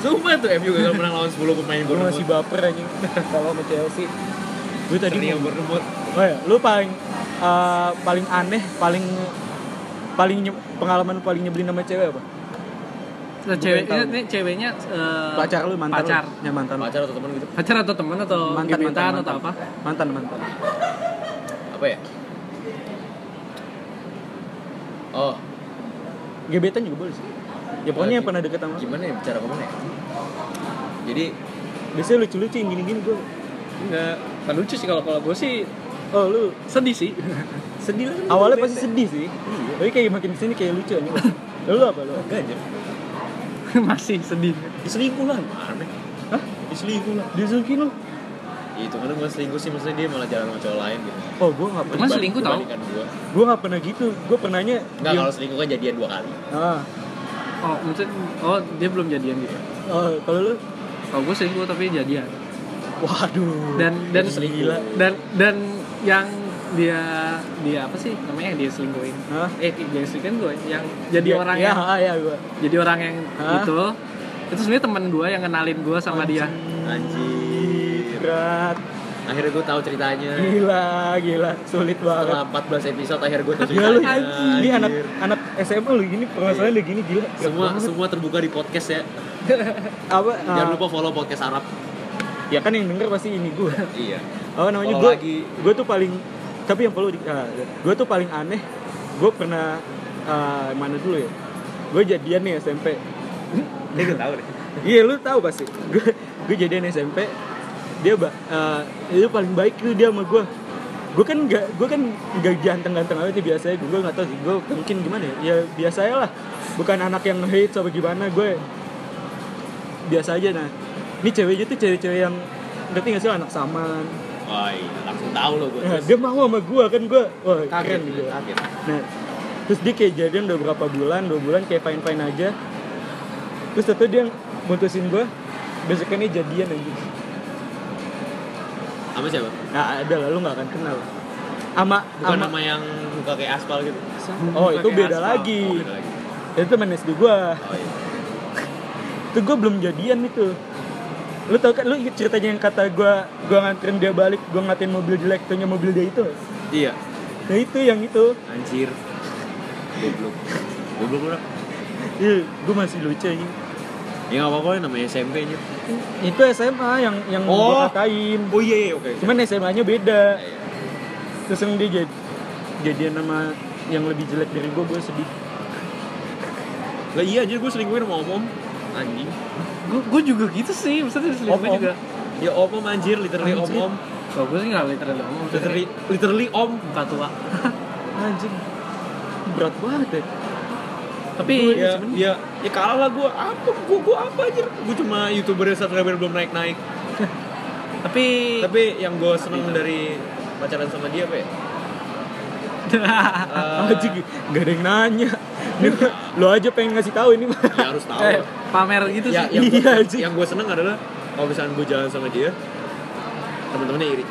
Sumpah tuh MU gagal menang lawan 10 pemain Gua Bournemouth masih baper anjing kalau sama Chelsea. Gua tadi Tadi yang mau- Bournemouth Oh ya, lu paling eh, paling aneh, paling paling nye- pengalaman paling nyebelin sama cewek apa? Nah, cewek tahu. ini, ini ceweknya eh, Pacar lu, mantan pacar lu. Ya mantan. lu. pacar atau teman gitu pacar atau teman atau Mantan, gebetan mantan, atau apa Mantan, mantan. apa ya oh Gebetan juga boleh sih. Ya pokoknya yang pernah deket sama. lu. gimana ya bicara kemana ya jadi Biasanya lucu-lucu yang gini-gini gua. enggak kan lucu sih kalau kalau gue sih Oh, lu sedih sih sedih lah awalnya pasti sedih sih. Tapi kayak makin kesini kayak lucu anjing. Lu apa lu? iya. enggak aja masih sedih Diselingkuh lah. aneh Diselingkuh lah. Diselingkuh lu. itu kan gue selingkuh sih maksudnya dia malah jalan sama cowok lain gitu Oh, gua nggak pernah. Mas selingkuh tau? dibandingkan gua Gue nggak pernah gitu. Gue pernahnya. enggak diem. kalau selingkuh kan jadian dua kali Ah, oh maksud oh dia belum jadian gitu oh, kalau lu, kalau gue selingkuh tapi jadian waduh. dan dan Itu selingkuh. gila. dan dan yang dia dia apa sih namanya yang dia selingkuhin Hah? eh dia selingkuhin gue yang jadi Dia- orang ya, yang ah, ya gue. jadi orang yang Hah? itu itu sebenarnya teman gue yang kenalin gue sama dia anjir Berat, akhirnya gue tahu ceritanya gila, gila, sulit setelah banget. 14 episode akhirnya gue tahu Gila Iya, lu, ya, ceritanya ini anjir. anak anak SMA lu gini, permasalahan lu gini gila. Berat semua banget. semua terbuka di podcast ya apa? jangan ah, lupa follow podcast Arab Ya kan yang denger pasti ini gue. iya Apa namanya Follow gue? lagi. Gue tuh paling, tapi yang perlu, di- ah, gue tuh paling aneh. Gue pernah ah, mana dulu ya? Gue jadian nih SMP. dia gak tahu deh Iya lu tahu pasti. Gue gue jadian SMP. Dia ba eh, itu paling baik tuh dia sama gue. Gue kan nggak gue kan nggak ganteng-ganteng aja sih biasanya. Gue nggak tahu sih. Gue mungkin gimana ya? Ya biasanya lah. Bukan anak yang hate atau gimana. Gue biasa aja nah. Ini cewek tuh cewek-cewek yang ngerti nggak sih lo, anak saman. wah iya langsung tahu lo gue Nah, dia mau sama gue kan gue. Wah keren gitu. kaget Nah, terus dia kayak jadian udah berapa bulan, dua bulan kayak fine fine aja. terus tapi dia mutusin gue besoknya ini jadian aja Sama siapa? nah ada lah lu nggak akan kenal ama ama Bukan nama yang muka kayak aspal gitu. oh itu Pakai beda aspal. lagi Oh, beda lagi. itu temen SD gue Oh iya. itu gue belum jadian itu lu tau kan lu inget ceritanya yang kata gue gue nganterin dia balik gue ngatain mobil jelek tuhnya mobil dia itu Iya. nah itu yang itu Anjir. Goblok. Goblok lu. Rak. Ih, gue masih lucu ini Ya enggak apa-apa lah, namanya SMP aja. itu SMA yang yang gue Oh. katain Oh iya iya oke. cuman SMA nya beda Iya, iya. terus yang dia jad- jadian sama yang lebih jelek dari gue gue sedih Lah iya anjir gue selingkuhin sama om-om. Anjing. gue juga gitu sih maksudnya diselingkuhin Om-om. juga Ya om-om anjir, literally Anjir. om-om. kalau gue sih nggak literally om Literally literally om. muka tua anjing berat Eh. banget ya tapi Iya. Ya, ya, ya kalah lah gue apa gue gue apa anjir gue cuma youtuber yang subscriber belum naik naik tapi tapi yang gue seneng dari pacaran sama dia apa ya Eh, anjing gak ada yang nanya Ini lo aja pengen ngasih tahu ini mah. ya harus tahu eh, lah. pamer gitu ya, sih yang Iya, gua, anjing. yang gue seneng adalah kalau misalnya gue jalan sama dia teman-temannya iri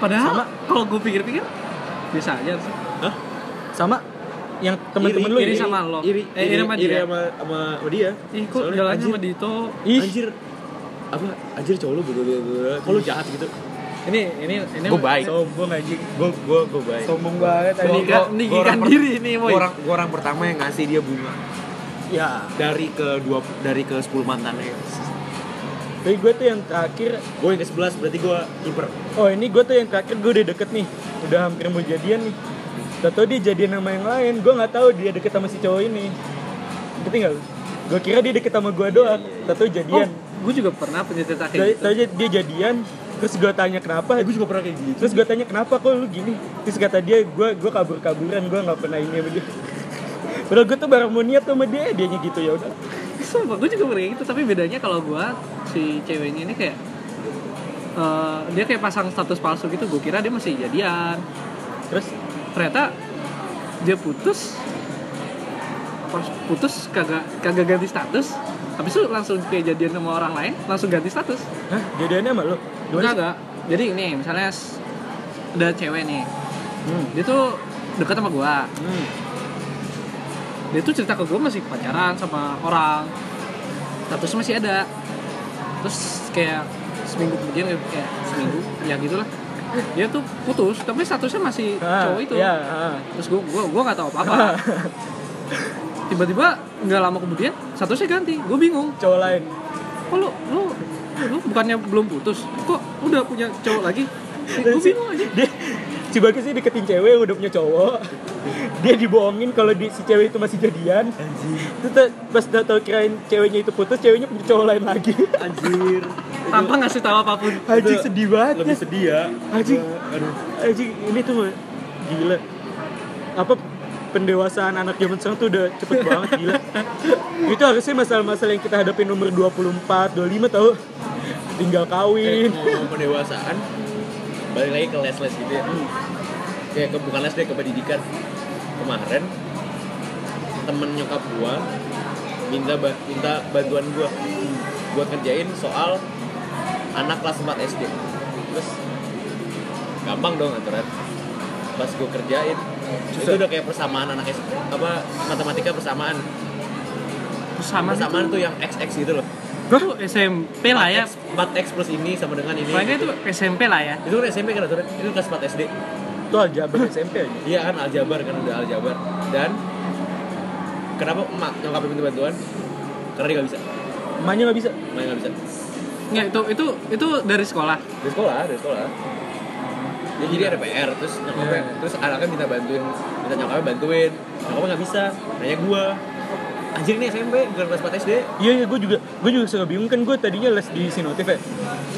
padahal kalau gue pikir-pikir bisa aja sih Hah? sama yang temen-temen Iri, lu iri ya? sama lo iri eh, iri sama dia sama, sama, sama dia ih kok Soalnya, jalannya anjir, sama Dito Ih. anjir apa anjir cowok lu berdua kalau jahat gitu ini ini ini Gua baik. sombong anjing gue gue gue baik sombong banget Ini anjing kan ini kan diri nih boy gue orang pertama yang ngasih dia bunga ya dari ke dua dari ke 10 mantannya tapi gue tuh yang terakhir gue yang ke 11 berarti gue kiper oh ini gue tuh yang terakhir gue udah deket nih udah hampir mau jadian nih Tahu dia jadian sama yang lain, gue nggak tahu dia deket sama si cowok ini. Ngerti nggak? Gue kira dia deket sama gue doang, tahu oh jadian. gue juga pernah punya cerita kayak gitu Tahu dia jadian, terus gue tanya kenapa, gue juga pernah kayak gitu terus gue tanya kenapa kok lu gini terus kata dia gue gue kabur kaburan gue nggak pernah ini sama dia Padahal gue tuh baru mau niat sama dia, dianya gitu ya udah. Sumpah, gue juga pernah kayak gitu, tapi bedanya kalau gue si ceweknya ini kayak eh, dia kayak pasang status palsu gitu, gue kira dia masih jadian. Terus Ternyata dia putus, pas putus kagak kagak ganti status, habis itu langsung kayak jadian sama orang lain, langsung ganti status. hah jadiannya sama lu? Gimana sih? Kagak. Jadi ini misalnya s- ada cewek nih, Hmm. dia tuh dekat sama gue, Hmm. dia tuh cerita ke gue masih pacaran sama orang statusnya masih ada terus kayak seminggu kemudian eh, kayak seminggu ya gitulah dia tuh putus tapi statusnya masih Ah, cowok itu Ya, ah. terus gue gue gue nggak tahu apa apa tiba-tiba nggak lama kemudian statusnya ganti gue bingung cowok lain. kok lu lu lu bukannya belum putus kok udah punya cowok lagi Iya gue bingung aja Dia si Bagus sih deketin cewek yang udah punya cowok. Dia dibohongin kalau di, si cewek itu masih jadian. Terus ta- pas udah tau kirain ceweknya itu putus, ceweknya punya cowok lain lagi. anjir tanpa ngasih tahu apapun Anjing sedih banget. lebih sedih ya Anjing. aduh Anjing ini tuh mah, gila. Apa pendewasaan anak zaman sekarang tuh udah cepet banget gila. Itu harusnya masalah-masalah yang kita hadapi nomor 24, 25 tau. Tinggal Eh, kawin. ngomong pendewasaan balik lagi ke les les gitu ya ya ke bukan les deh ke pendidikan kemarin temen nyokap gua minta ba- minta bantuan gua buat kerjain soal anak kelas 4 SD terus gampang dong aturan pas gua kerjain itu udah kayak persamaan anak SD apa matematika persamaan sama persamaan tuh yang XX gitu loh itu SMP lah ya 4X plus ini sama dengan ini Mereka itu SMP lah ya itu kan SMP kan aturan itu kelas 4 SD Itu aljabar SMP aja. Iya kan aljabar kan udah aljabar dan kenapa emak nyokapnya minta bantuan? Karena dia nggak bisa, Emaknya nggak bisa. emaknya nggak bisa. Nggak, itu itu itu dari sekolah. Dari sekolah, dari sekolah. Ya, jadi ada PR, terus nyokapnya, Iya. terus anaknya minta bantuin, minta nyokapnya bantuin, nyokapnya nggak bisa, nanya gua. Anjir nih SMP, bukan kelas 4 SD. Iya iya gue juga gue juga suka bingung kan gue tadinya les di Sinotif ya.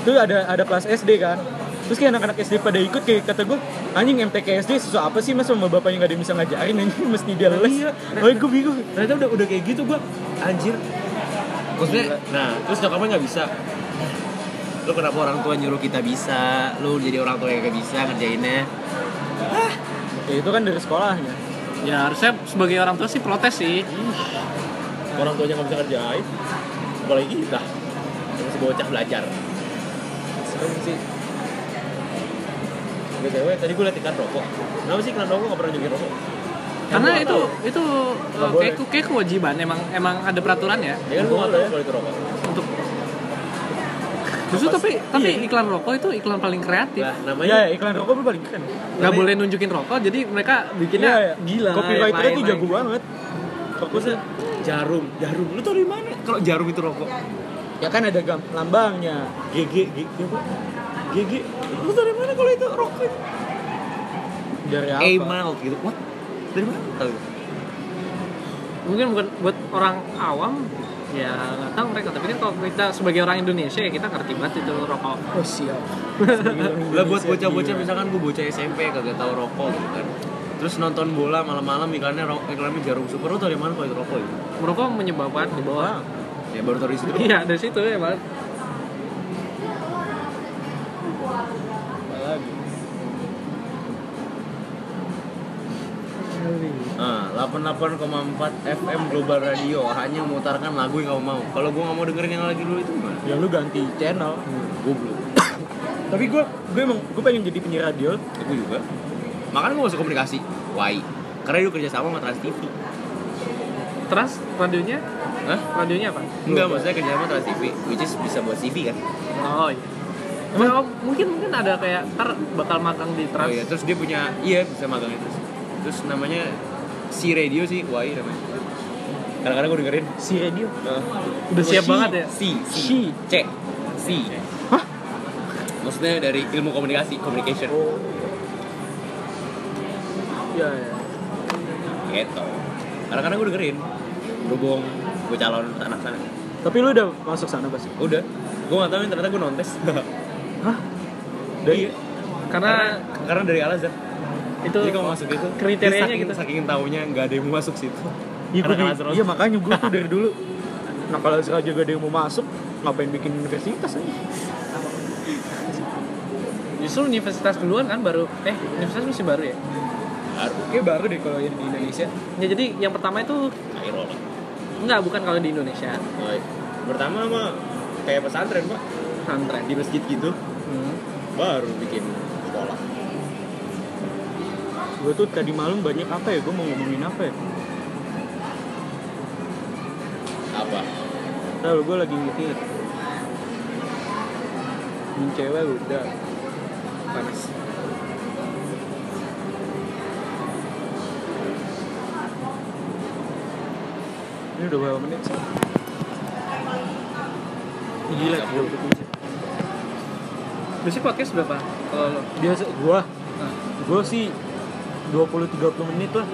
Itu ada ada kelas SD kan. Terus kayak anak-anak SD pada ikut kayak kata gue anjing MTK SD susah apa sih mas sama bapaknya nggak ada yang bisa ngajarin anjing mesti dia Nah, les. iya. Oh gue bingung. Ternyata udah udah kayak gitu gua, anjir. Maksudnya, nah terus nyokapnya nggak bisa. Lu kenapa orang tua nyuruh kita bisa, lu jadi orang tua yang gak bisa ngerjainnya. Ya, itu kan dari sekolahnya. Ya harusnya sebagai orang tua sih protes sih. orang tuanya nggak bisa kerjain apalagi kita yang masih bocah belajar serem sih btw tadi gue liat iklan rokok kenapa sih iklan rokok nggak pernah joget rokok Yang Karena gua nggak itu tahu. itu Iya. Nggak eh, boleh. kayak kayak kewajiban emang emang ada peraturan ya ya kan gue nggak tahu kalau itu rokok untuk Justru tapi tapi iklan rokok itu iklan paling kreatif. Iya. lah namanya Iya, iklan rokok paling kan. nggak boleh nunjukin rokok jadi mereka Iya, bikinnya gila Iya, Copywriternya main- tuh main. jago banget. fokusnya jarum ya, jarum lu tau dari mana Kalau jarum itu rokok. Ya kan ada gam lambangnya. GG GG apa? GG. Lu dari mana kalau itu rokok? Dari apa? Emerald gitu what Dari mana? tahu mungkin buat buat orang awam ya nggak tahu mereka tapi kan kalau kita sebagai orang Indonesia ya kita ngerti banget itu rokok Oh siap. lah buat bocah-bocah misalkan gue bocah SMP kagak tahu rokok gitu kan terus nonton bola malam-malam iklannya rokok iklannya jarum super lu tau dari mana kalau itu rokok gitu merokok menyebabkan di bawah ya baru tau di situ iya dari situ ya Pak. Ah, 88,4 FM Global Radio hanya memutarkan lagu yang kamu mau. Kalau gue nggak mau dengerin yang lagi dulu itu gimana? Hmm, Ya lu ganti channel. Gue belum. Tapi gue gue emang gue pengen jadi penyiar radio. Aku juga. Makanya gue masuk komunikasi. Why? Karena dulu kerja sama sama Trans TV. terus radionya Hah? radionya apa Enggak, maksudnya kerja sama Trans TV, which is bisa buat CV kan? oh iya Emang mungkin mungkin ada kayak ter bakal magang di Oh trans iya, terus dia punya, iya bisa magang itu. Terus namanya si radio sih, Wai namanya. Kadang-kadang gue dengerin. Si radio. udah siap Si- banget ya Si, si, Si. C, si. Hah? Maksudnya dari ilmu komunikasi, communication. Oh. Iya, iya. Gitu. Kadang-kadang gue dengerin. Berhubung gue calon anak sana. Tapi lu udah masuk sana pasti. Udah, gue gak tau yang ternyata gue nontes. Hah? dari karena karena dari Al Azhar. itu Jadi kalau masuk itu kriterianya saking, gitu. saking taunya nggak ada yang mau masuk situ. Iya, gua Anak dari- Lazarus. iya makanya gue tuh dari dulu. Nah kalau sengaja gak ada yang mau masuk, ngapain bikin universitas aja? justru universitas duluan kan baru eh universitas masih baru ya Kayak baru deh kalau yang di Indonesia. ya jadi yang pertama itu Akhirnya. enggak bukan kalau di Indonesia Pertama mah kayak pesantren pak pesantren di masjid gitu Hmm. baru bikin sekolah. Gue tuh tadi malam banyak apa ya? Gue mau ngomongin apa ya? Apa? Tahu gue Nah, lagi mikir. Ini cewek udah panas. Ini udah berapa menit sih? Ih, Gila, gila, gila. Biasanya podcast berapa? Kalau lo? biasa gua Nah. gua sih 20 30 menit lah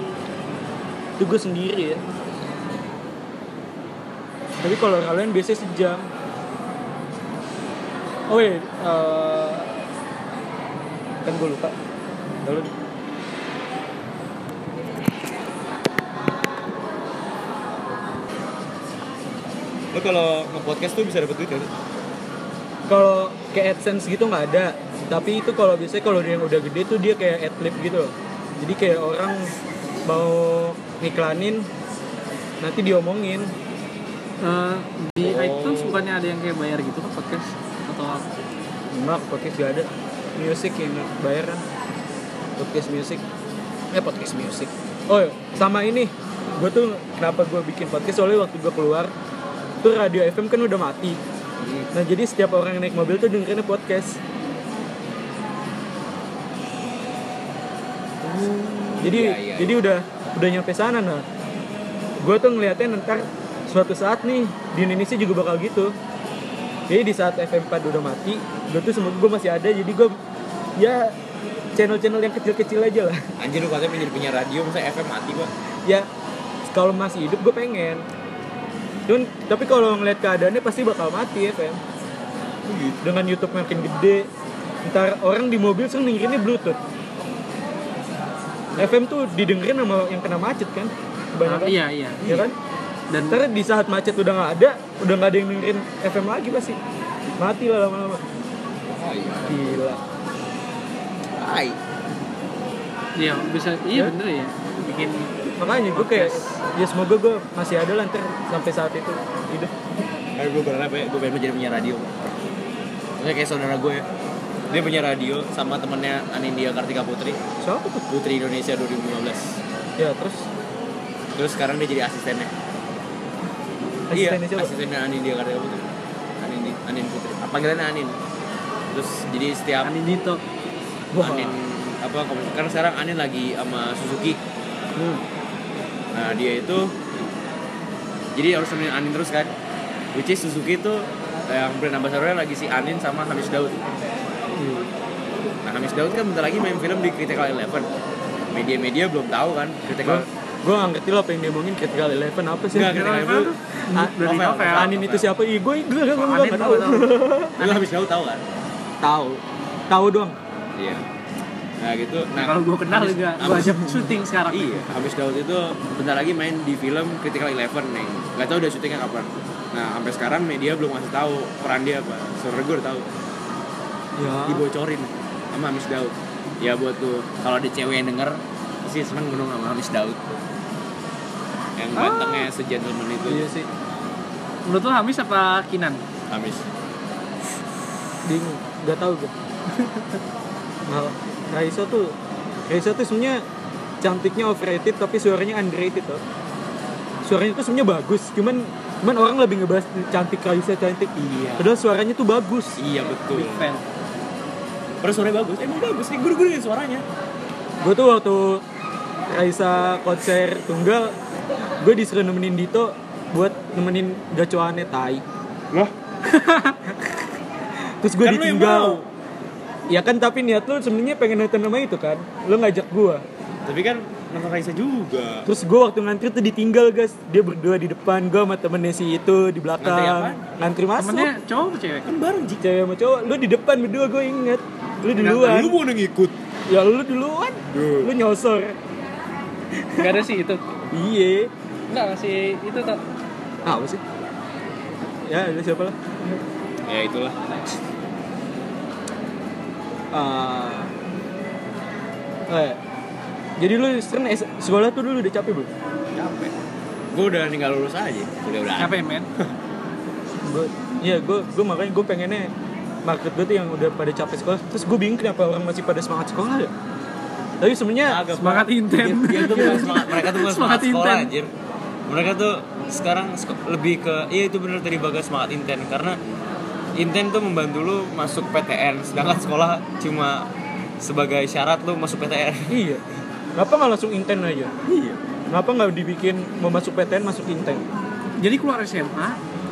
itu gua sendiri ya tapi kalau kalian biasanya sejam oh iya eh, kan gua lupa lalu Lo kalau nge-podcast tuh bisa dapet duit ya? kalau kayak AdSense gitu nggak ada tapi itu kalau biasanya kalau dia yang udah gede tuh dia kayak adlib gitu loh jadi kayak orang mau ngiklanin nanti diomongin Eh, di Oh. iTunes bukannya ada yang kayak bayar gitu kan podcast atau apa? Enggak, podcast gak ada. Music yang bayar kan. Podcast music. Eh, podcast music. Oh, iya. sama ini. Gue tuh kenapa gue bikin podcast soalnya waktu gue keluar tuh radio FM kan udah mati. Hmm. Nah, jadi setiap orang yang naik mobil tuh dengerinnya podcast. Jadi Iya, iya, jadi udah udah nyampe sana nah. Gue tuh ngeliatnya ntar suatu saat nih di Indonesia juga bakal gitu. Jadi di saat FM4 udah mati, gue tuh semoga gue masih ada. Jadi gue ya channel-channel yang kecil-kecil aja lah. Anjir lu katanya menjadi penyiar radio, masa FM mati pak? Ya kalau masih hidup gue pengen. Cuman, tapi kalau ngeliat keadaannya pasti bakal mati FM. gitu. Dengan YouTube makin gede, ntar orang di mobil sering dengerinnya Bluetooth. FM tuh didengerin sama yang kena macet kan? Ah, Kebanyakan. iya iya. ya? Ya kan? Dan Ntar di saat macet udah nggak ada, udah nggak ada yang dengerin FM lagi pasti. Mati lah lama-lama. Oh iya. Gila. Hai. iya bisa iya bener ya bikin makanya gue kayak ya semoga gue masih ada lah ntar sampai saat itu hidup Kayak gue berharap ya, gue pengen jadi punya radio. Kayak kayak saudara gue ya. Dia punya radio sama temennya Anindya Kartika Putri. siapa tuh Putri Indonesia 2015. ya terus Terus sekarang dia jadi asistennya. asistennya iya, siapa asistennya Anindya Kartika Putri. Anindi, Anin Putri. Apa panggilannya Anin? Terus jadi setiap Anin, Dito wah apa komunikasi. Karena sekarang Anin lagi sama Suzuki. hmm. Nah dia itu jadi harus nemenin Anin terus kan. Which is Suzuki itu eh, yang brand ambassador lagi si Anin sama Hamis Daud. Nah Hamis Daud kan bentar lagi main film di Critical Eleven. Media-media belum tahu kan Critical. gue gak ngerti lah apa yang dia omongin critical eleven apa sih Nggak, Critical Eleven Eleven. tuh Ah, dari novel, novel. novel. Anin itu siapa? Ih, gue gue gue gak Anin gua tahu. nggak tahu. Lu Hamis Daud tahu kan? Tahu. Tahu doang. Iya. Nah gitu. Nah Kalau gue kenal Hamis- juga, gue Hamis- ajak syuting sekarang. Iya, Hamis Daud itu bentar lagi main di film Critical Eleven nih. Gak tau udah syutingnya kapan. Nah, sampai sekarang media belum ngasih tahu peran dia apa. Sebenernya gue udah tahu. Ya. dibocorin sama Hamis Daud ya buat tuh kalau ada cewek yang denger pasti seneng menung sama Hamis Daud yang gantengnya se-gentleman itu Iya sih. Menurut lo Hamis apa Kinan? Hamis Bingung. Gak tahu gue. Nah, Raisa tuh Raisa tuh sebenarnya cantiknya overrated tapi suaranya underrated tuh. Suaranya tuh sebenarnya bagus, cuman cuman orang lebih ngebahas cantik Raisa cantik. iya Padahal suaranya tuh bagus. iya betul Big fan. terus suaranya bagus emang bagus sih gue gue dengerin suaranya Gue tuh waktu Raisa konser tunggal, gue disuruh nemenin Dito buat nemenin gacoannya Tai. loh Terus gue Kan lu yang ditinggal. mau. Ya kan tapi niat lu sebenarnya pengen nonton nama itu kan. Lu ngajak gue. tapi kan nonton Raisa juga Terus gue waktu ngantri tuh ditinggal guys. Dia berdua di depan, gue sama temennya si itu di Ngantri belakang. apaan? Ngantri, masuk. Temennya cowok atau cewek? kan bareng Ji Cewek sama cowok, lu di depan berdua gue inget. Lu duluan. lu mau ngikut Ya lu duluan. Duh. Lu nyosor. Gak ada sih itu. Iya. Ah, Enggak sih itu tak. Apa sih? Ya, lu siapa lah? ya itulah Ah. eh. Jadi lu sering S- sekolah tuh dulu udah capek belum? capek gue udah tinggal lulus aja udah udah Apa ya men? gue iya gue gue makanya gue pengennya market gue tuh yang udah pada capek sekolah terus gue bingung kenapa orang masih pada semangat sekolah ya tapi sebenarnya Agak Semangat Dia, intent. Iya, dia tuh bukan semangat, mereka tuh bukan semangat, Semangat sekolah intent. anjir. Mereka tuh sekarang sek- lebih ke iya itu bener tadi bagas semangat inten karena inten tuh membantu lu masuk PTN sedangkan sekolah cuma sebagai syarat lu masuk PTN. iya kenapa nggak langsung inten aja Iya. kenapa nggak dibikin mau masuk PTN masuk inten Jadi keluar SMA,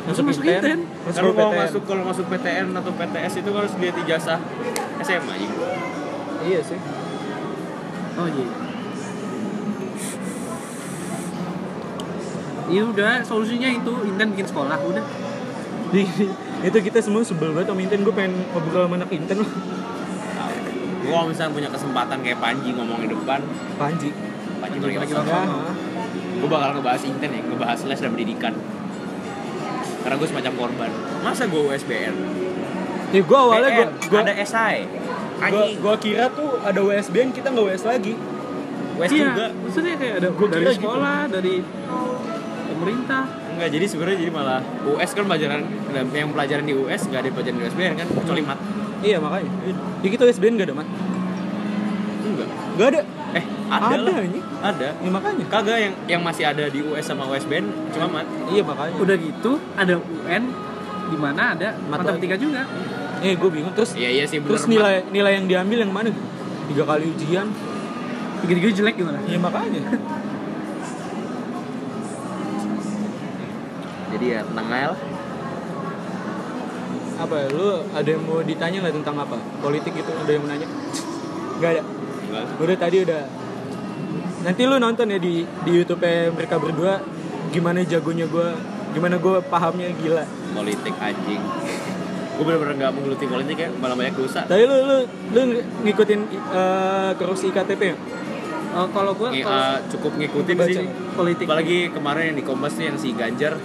langsung masuk intent. masuk Kalau mau PTN. masuk kalau masuk PTN atau PTS itu harus lihat ijazah SMA anjing. iya sih Oh iya. Ya udah, solusinya itu Inten bikin sekolah, udah. Jadi, itu kita semua sebel banget sama inten gue pengen ngobrol sama anak inten loh Gua kalau misalnya punya kesempatan kayak Panji ngomong di depan, panji Panji Panji Iya, pergi Pragiwaksono. sama gue bakal ngebahas inten ya, ngebahas les dan pendidikan karena gue semacam korban masa gue USBN? ya gue awalnya gue BN, gue ada SI gue anjing gue kira tuh ada WSBN kita nggak WS lagi US iya, juga maksudnya kayak ada Gua dari kira gitu. sekolah, dari pemerintah. enggak jadi sebenarnya jadi malah US kan pelajaran yang pelajaran di US nggak ada pelajaran di USBN kan kecuali mat iya makanya ya kita WSBN gak ada mat enggak gak ada eh ada Ada, lah. anjing. ada ya makanya kagak yang yang masih ada di US sama USBN cuma mat iya makanya Udah gitu, ada UN di mana ada matematika juga. Eh gue bingung terus iya iya sih bener terus Mat. nilai nilai yang diambil yang mana? Tiga kali ujian. Tiga-tiga jelek gimana? Ya makanya. jadi ya tenang aja lah apa ya, lu ada yang mau ditanya nggak tentang apa? Politik itu ada yang mau nanya? Gak ada. Enggak. Gue udah tadi udah. Nanti lu nonton ya di di YouTube mereka berdua gimana jagonya gue, gimana gue pahamnya gila. politik anjing gue bener-bener nggak menggeluti politik ya malah banyak dosa Tapi lu lu lu ng- ngikutin eh, korupsi IKTP ya? Eh, kalau gue Ngi- kalau eh, cukup ngikutin Baca. sih politik apalagi kemarin yang di Kompas tuh yang si Ganjar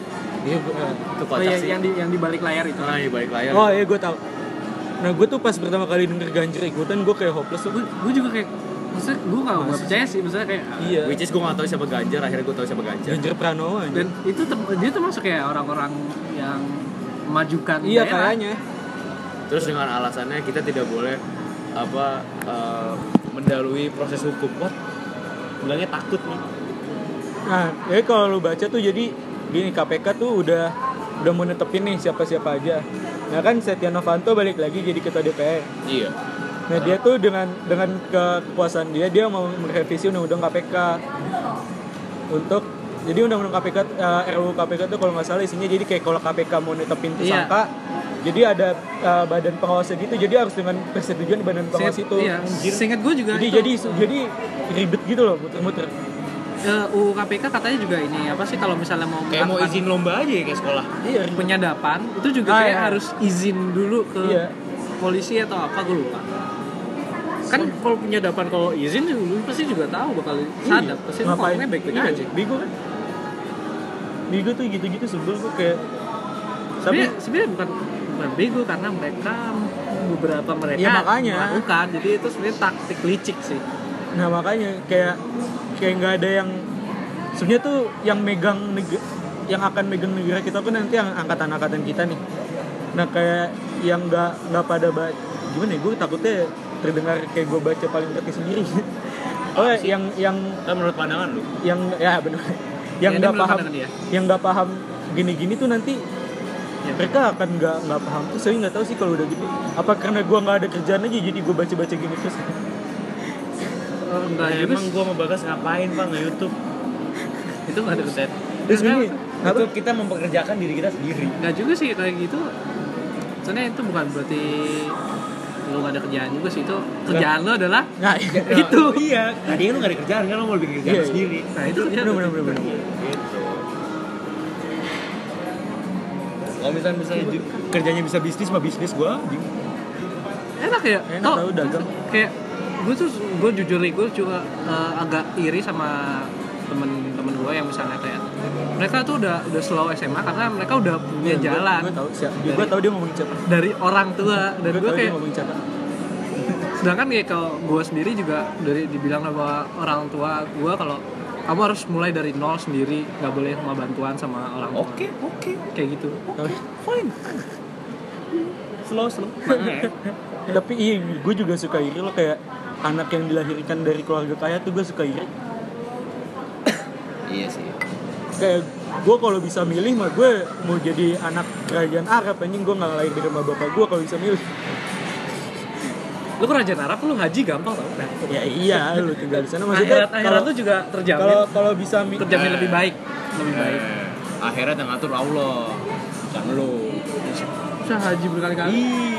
Iya. gua- eh. itu Oh, kocak iya, sih yang di yang di balik layar itu. Nah, di balik layar. Oh iya gue tahu. Nah gue tuh pas pertama kali denger Ganjar ikutan gue kayak hopeless tuh. Gue juga kayak maksudnya gue nggak nggak percaya sih maksudnya kayak Iya. Which is gue gak tau siapa Ganjar, akhirnya gue tau siapa Ganjar. Ganjar Pranowo anjir. dan itu tem- dia termasuk kayak orang-orang yang memajukan Iya daerah. kayaknya. Terus dengan alasannya kita tidak boleh apa eh, mendahului proses hukum. What? Bilangnya takut nih. Nah, ya kalau lu baca tuh jadi gini KPK tuh udah udah mau netepin nih siapa-siapa aja. Nah kan Setia Novanto balik lagi jadi ketua DPR. Iya. Nah dia tuh dengan dengan ke- kekuasaan dia dia mau merevisi undang-undang KPK untuk jadi undang-undang KPK eh, RUU KPK tuh kalau nggak salah isinya jadi kayak kalau KPK mau netepin Iya. tersangka jadi ada eh, badan pengawas gitu jadi harus dengan persetujuan badan pengawas Seingat- itu iya, Anjir. seingat gue juga jadi itu. jadi jadi ribet gitu loh muter-muter Eh, UU KPK katanya juga ini apa sih kalau misalnya mau Kayak mau melakukan izin lomba aja ya kayak sekolah. iya ribet. penyadapan itu juga Ah, kayak iya. harus izin dulu ke Iya. polisi atau apa gue lupa kan kalau penyadapan kalau izin lu pasti juga tahu bakal sadap pasti lu Iya. Ngapain? ngomongnya baik-baik Iya, aja Bigo kan. Bigo tuh gitu-gitu sebel gue kayak tapi tapi sebenarnya bukan bukan bego karena mereka beberapa mereka Ya, makanya. melakukan jadi itu sebenarnya taktik licik sih nah makanya kayak kayak nggak ada yang sebenarnya tuh yang megang neg- yang akan megang negara kita tuh nanti yang angkatan-angkatan kita nih nah kayak yang nggak nggak pada ba- gimana ya gue takutnya terdengar kayak gue baca paling kaki sendiri oh yang yang Kan menurut pandangan lu. yang ya benar yang nggak Ya, dia menurut paham pandangan dia. yang nggak paham gini-gini tuh nanti ya, mereka akan nggak nggak paham tuh saya nggak tahu sih kalau udah gitu apa karena gua nggak ada kerjaan aja jadi gua baca baca gini terus Iya, enggak juga Emang sih. gue mau bagas ngapain pak nge YouTube? itu nggak ada kesan terus gini Itu apa kita mempekerjakan diri kita sendiri. nggak juga sih kayak gitu sebenarnya itu bukan berarti lu gak ada kerjaan juga sih itu kerjaan lu adalah nah iya. itu Iya. Tadi lu gak ada kerjaan kan lu mau bikin kerjaan Iya, iya. sendiri. nah itu dia bener bener bener bener. Gitu. Kalau misalnya misalnya ju- kerjanya bisa bisnis mah bisnis gua anjing. enak ya Enak Tau, tahu dagang. kayak gue tuh gue jujur nih gue juga eh, agak iri sama temen-temen gue yang misalnya kayak mereka tuh udah udah slow SMA karena mereka udah Iya, punya Gua- Iya, jalan gua tahu siap gua tahu dia ngomongin siapa dari orang tua dan gua tahu gue dia kayak ngomongin siapa sedangkan kayak kalau gue sendiri juga dari dibilang sama orang tua gue kalau kamu harus mulai dari nol sendiri nggak boleh sama bantuan sama orang tua Oke, oke. kayak gitu Tahu. Fine. Slow, slow. tapi iya gua juga suka iri lo kayak anak yang dilahirkan dari keluarga kaya tuh gua suka iri iya sih. kayak gua kalau bisa milih mah gua mau jadi anak kerajaan Arab anjing gua nggak lahir di rumah bapak gua kalau bisa milih lu kerajaan Arab lu ngaji gampang tau nah, ya iya lu tinggal di sana maksudnya akhirat akhirat kalau- tuh juga terjamin kalau kalau bisa mi- terjamin lebih baik lebih baik akhirat yang ngatur Allah. Bukan lu. saya haji berkali-kali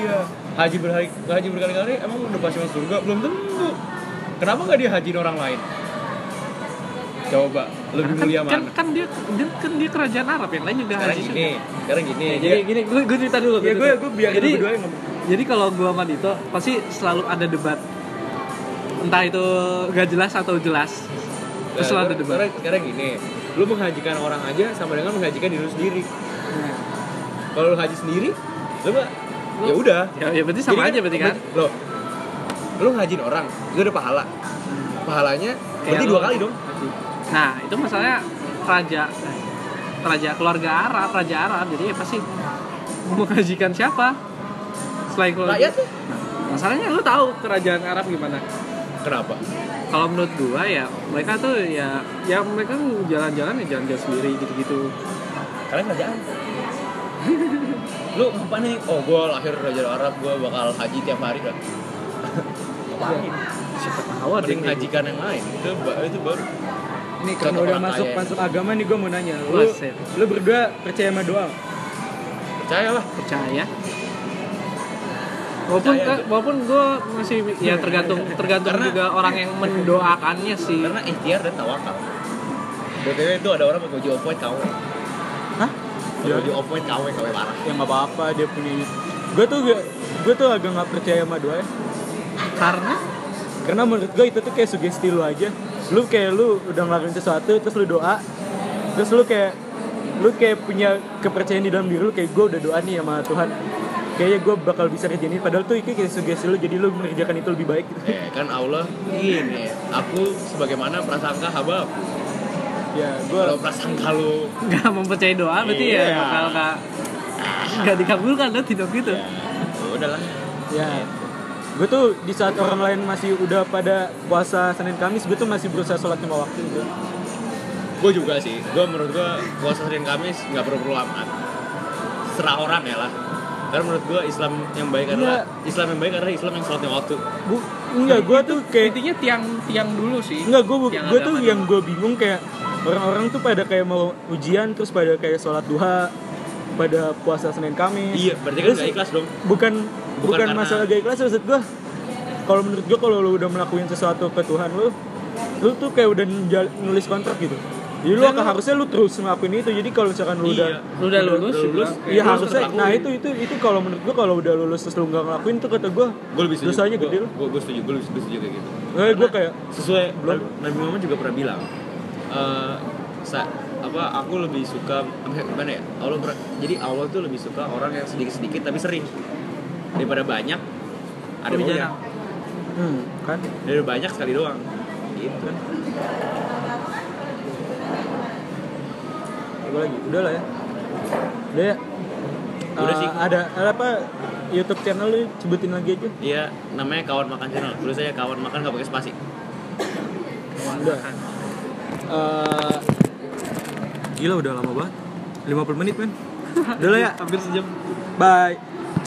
Iya. Haji berhari, haji berkali-kali emang udah pasti masuk surga? Belum tentu. Kenapa nggak dihajiin orang lain? Coba lebih Karena mulia kan, kan, mana? kan dia dia- kan dia kerajaan Arab yang lain juga Sekarang Iya, haji gini, sekarang gini. Ya, jadi gini gue gue cerita dulu ya cerita gue dulu. gue biar jadi berdua yang ngomong jadi kalau gue sama Dito pasti selalu ada debat entah itu gak jelas atau jelas Nah, terus selalu ada sekarang- debat Sekarang, sekarang gini, lu menghajikan orang aja sama dengan menghajikan diri lu sendiri. Kalau lu haji sendiri, lu mah ya udah. ya, ya berarti Jadi sama aja berarti kan Lo, lu ngajin orang, itu udah pahala. Pahalanya berarti Kayak dua lu- kali dong. nah itu masalahnya raja raja keluarga Arab raja Arab jadi ya pasti menghajikan siapa selain keluarga Rakyat tuh. masalahnya lu tahu kerajaan Arab gimana Kenapa? kalau menurut gua ya mereka tuh ya ya mereka jalan-jalan ya jalan-jalan sendiri gitu-gitu Karena kerjaan. lu apa nih? Oh, gua lahir raja Arab, gua bakal haji tiap hari Oh, lah. Ngapain? siapa tahu Mending ada yang kayak gitu. hajikan yang lain. Itu, ba- itu baru. nih karena karena Contoh udah udah orang masuk- masuk kaya. masuk agama nih gue mau nanya Lu- lu Buset. lu berdua percaya sama doa Percayalah. percaya walaupun Percaya ka- walaupun gua masih ya tergantung tergantung Karena- juga orang yang mendoakannya sih Karena ikhtiar dan tawakal. BTW itu ada orang pakai Joe Point kawe. Hah? Iya. Pakai Joe Point kawe kawe parah. ya nggak apa-apa dia punya gue tuh gue tuh agak nggak percaya sama doa ya. karena karena menurut gue itu tuh kayak sugesti lu aja lu kayak lu udah ngelakuin sesuatu terus lu doa terus lu kayak lu kayak punya kepercayaan di dalam diri lu kayak gue udah doa nih sama Tuhan kayaknya gue bakal bisa kerjain ini padahal tuh itu kayak sugesti lu jadi lu mengerjakan itu lebih baik gitu Eh, kan Allah ini aku sebagaimana prasangka hamba aku. Iya. ya gue kalau prasangka lu nggak mempercayai doa berarti Iya. ya bakal nggak nggak dikabulkan lo tidak gitu ya udahlah ya gue tuh di saat orang lain masih udah pada puasa Senin Kamis gue tuh masih berusaha sholat lima waktu gitu gue juga sih gue menurut gue puasa Senin Kamis nggak perlu perlu amat serah orang ya lah karena menurut gue Islam yang Iya. baik adalah Islam yang baik adalah Islam yang sholatnya waktu Bu, enggak gue tuh kayak intinya tiang tiang dulu sih Enggak, gue Yang gue tuh agama yang gue bingung kayak orang-orang tuh pada kayak mau ujian terus pada kayak sholat duha pada puasa Senin Kamis. iya berarti kan Terus nggak ikhlas dong Bukan bukan, karena- masalah gak ikhlas maksud gue. Kalau menurut gue kalau lu udah melakukan sesuatu ke Tuhan lu, lu tuh kayak udah njal- nulis kontrak gitu. Jadi lu Dan lu- harusnya lu terus ngelakuin itu. Jadi kalau misalkan lu udah iya lu udah lulus Udah lulus. juga. Iya Terus harusnya. terlakuin. Nah itu itu itu kalau menurut gue kalau udah lulus terus lu nggak ngelakuin tuh kata gue, gue lebih setuju Dosanya gede lu. gue gue setuju gue lebih gue setuju kayak gitu eh, gue kayak sesuai Belum. Nabi Muhammad juga pernah bilang eh sa- apa aku lebih suka eh, gimana ya Allah ber- jadi Allah tuh lebih suka orang yang sedikit sedikit tapi sering daripada banyak ada ya. Tapi maunya jarang. hmm, kan. daripada banyak sekali doang gitu kan Apa lagi? Udah lah ya. Udah ya. Udah Eh, sih. Ada, ada apa? YouTube channel lu sebutin lagi aja. Iya, namanya kawan makan channel. Tulis aja kawan makan nggak pakai spasi. Udah. Eh, gila udah lama banget. 50 menit, men. Udah lah ya. hampir sejam Bye.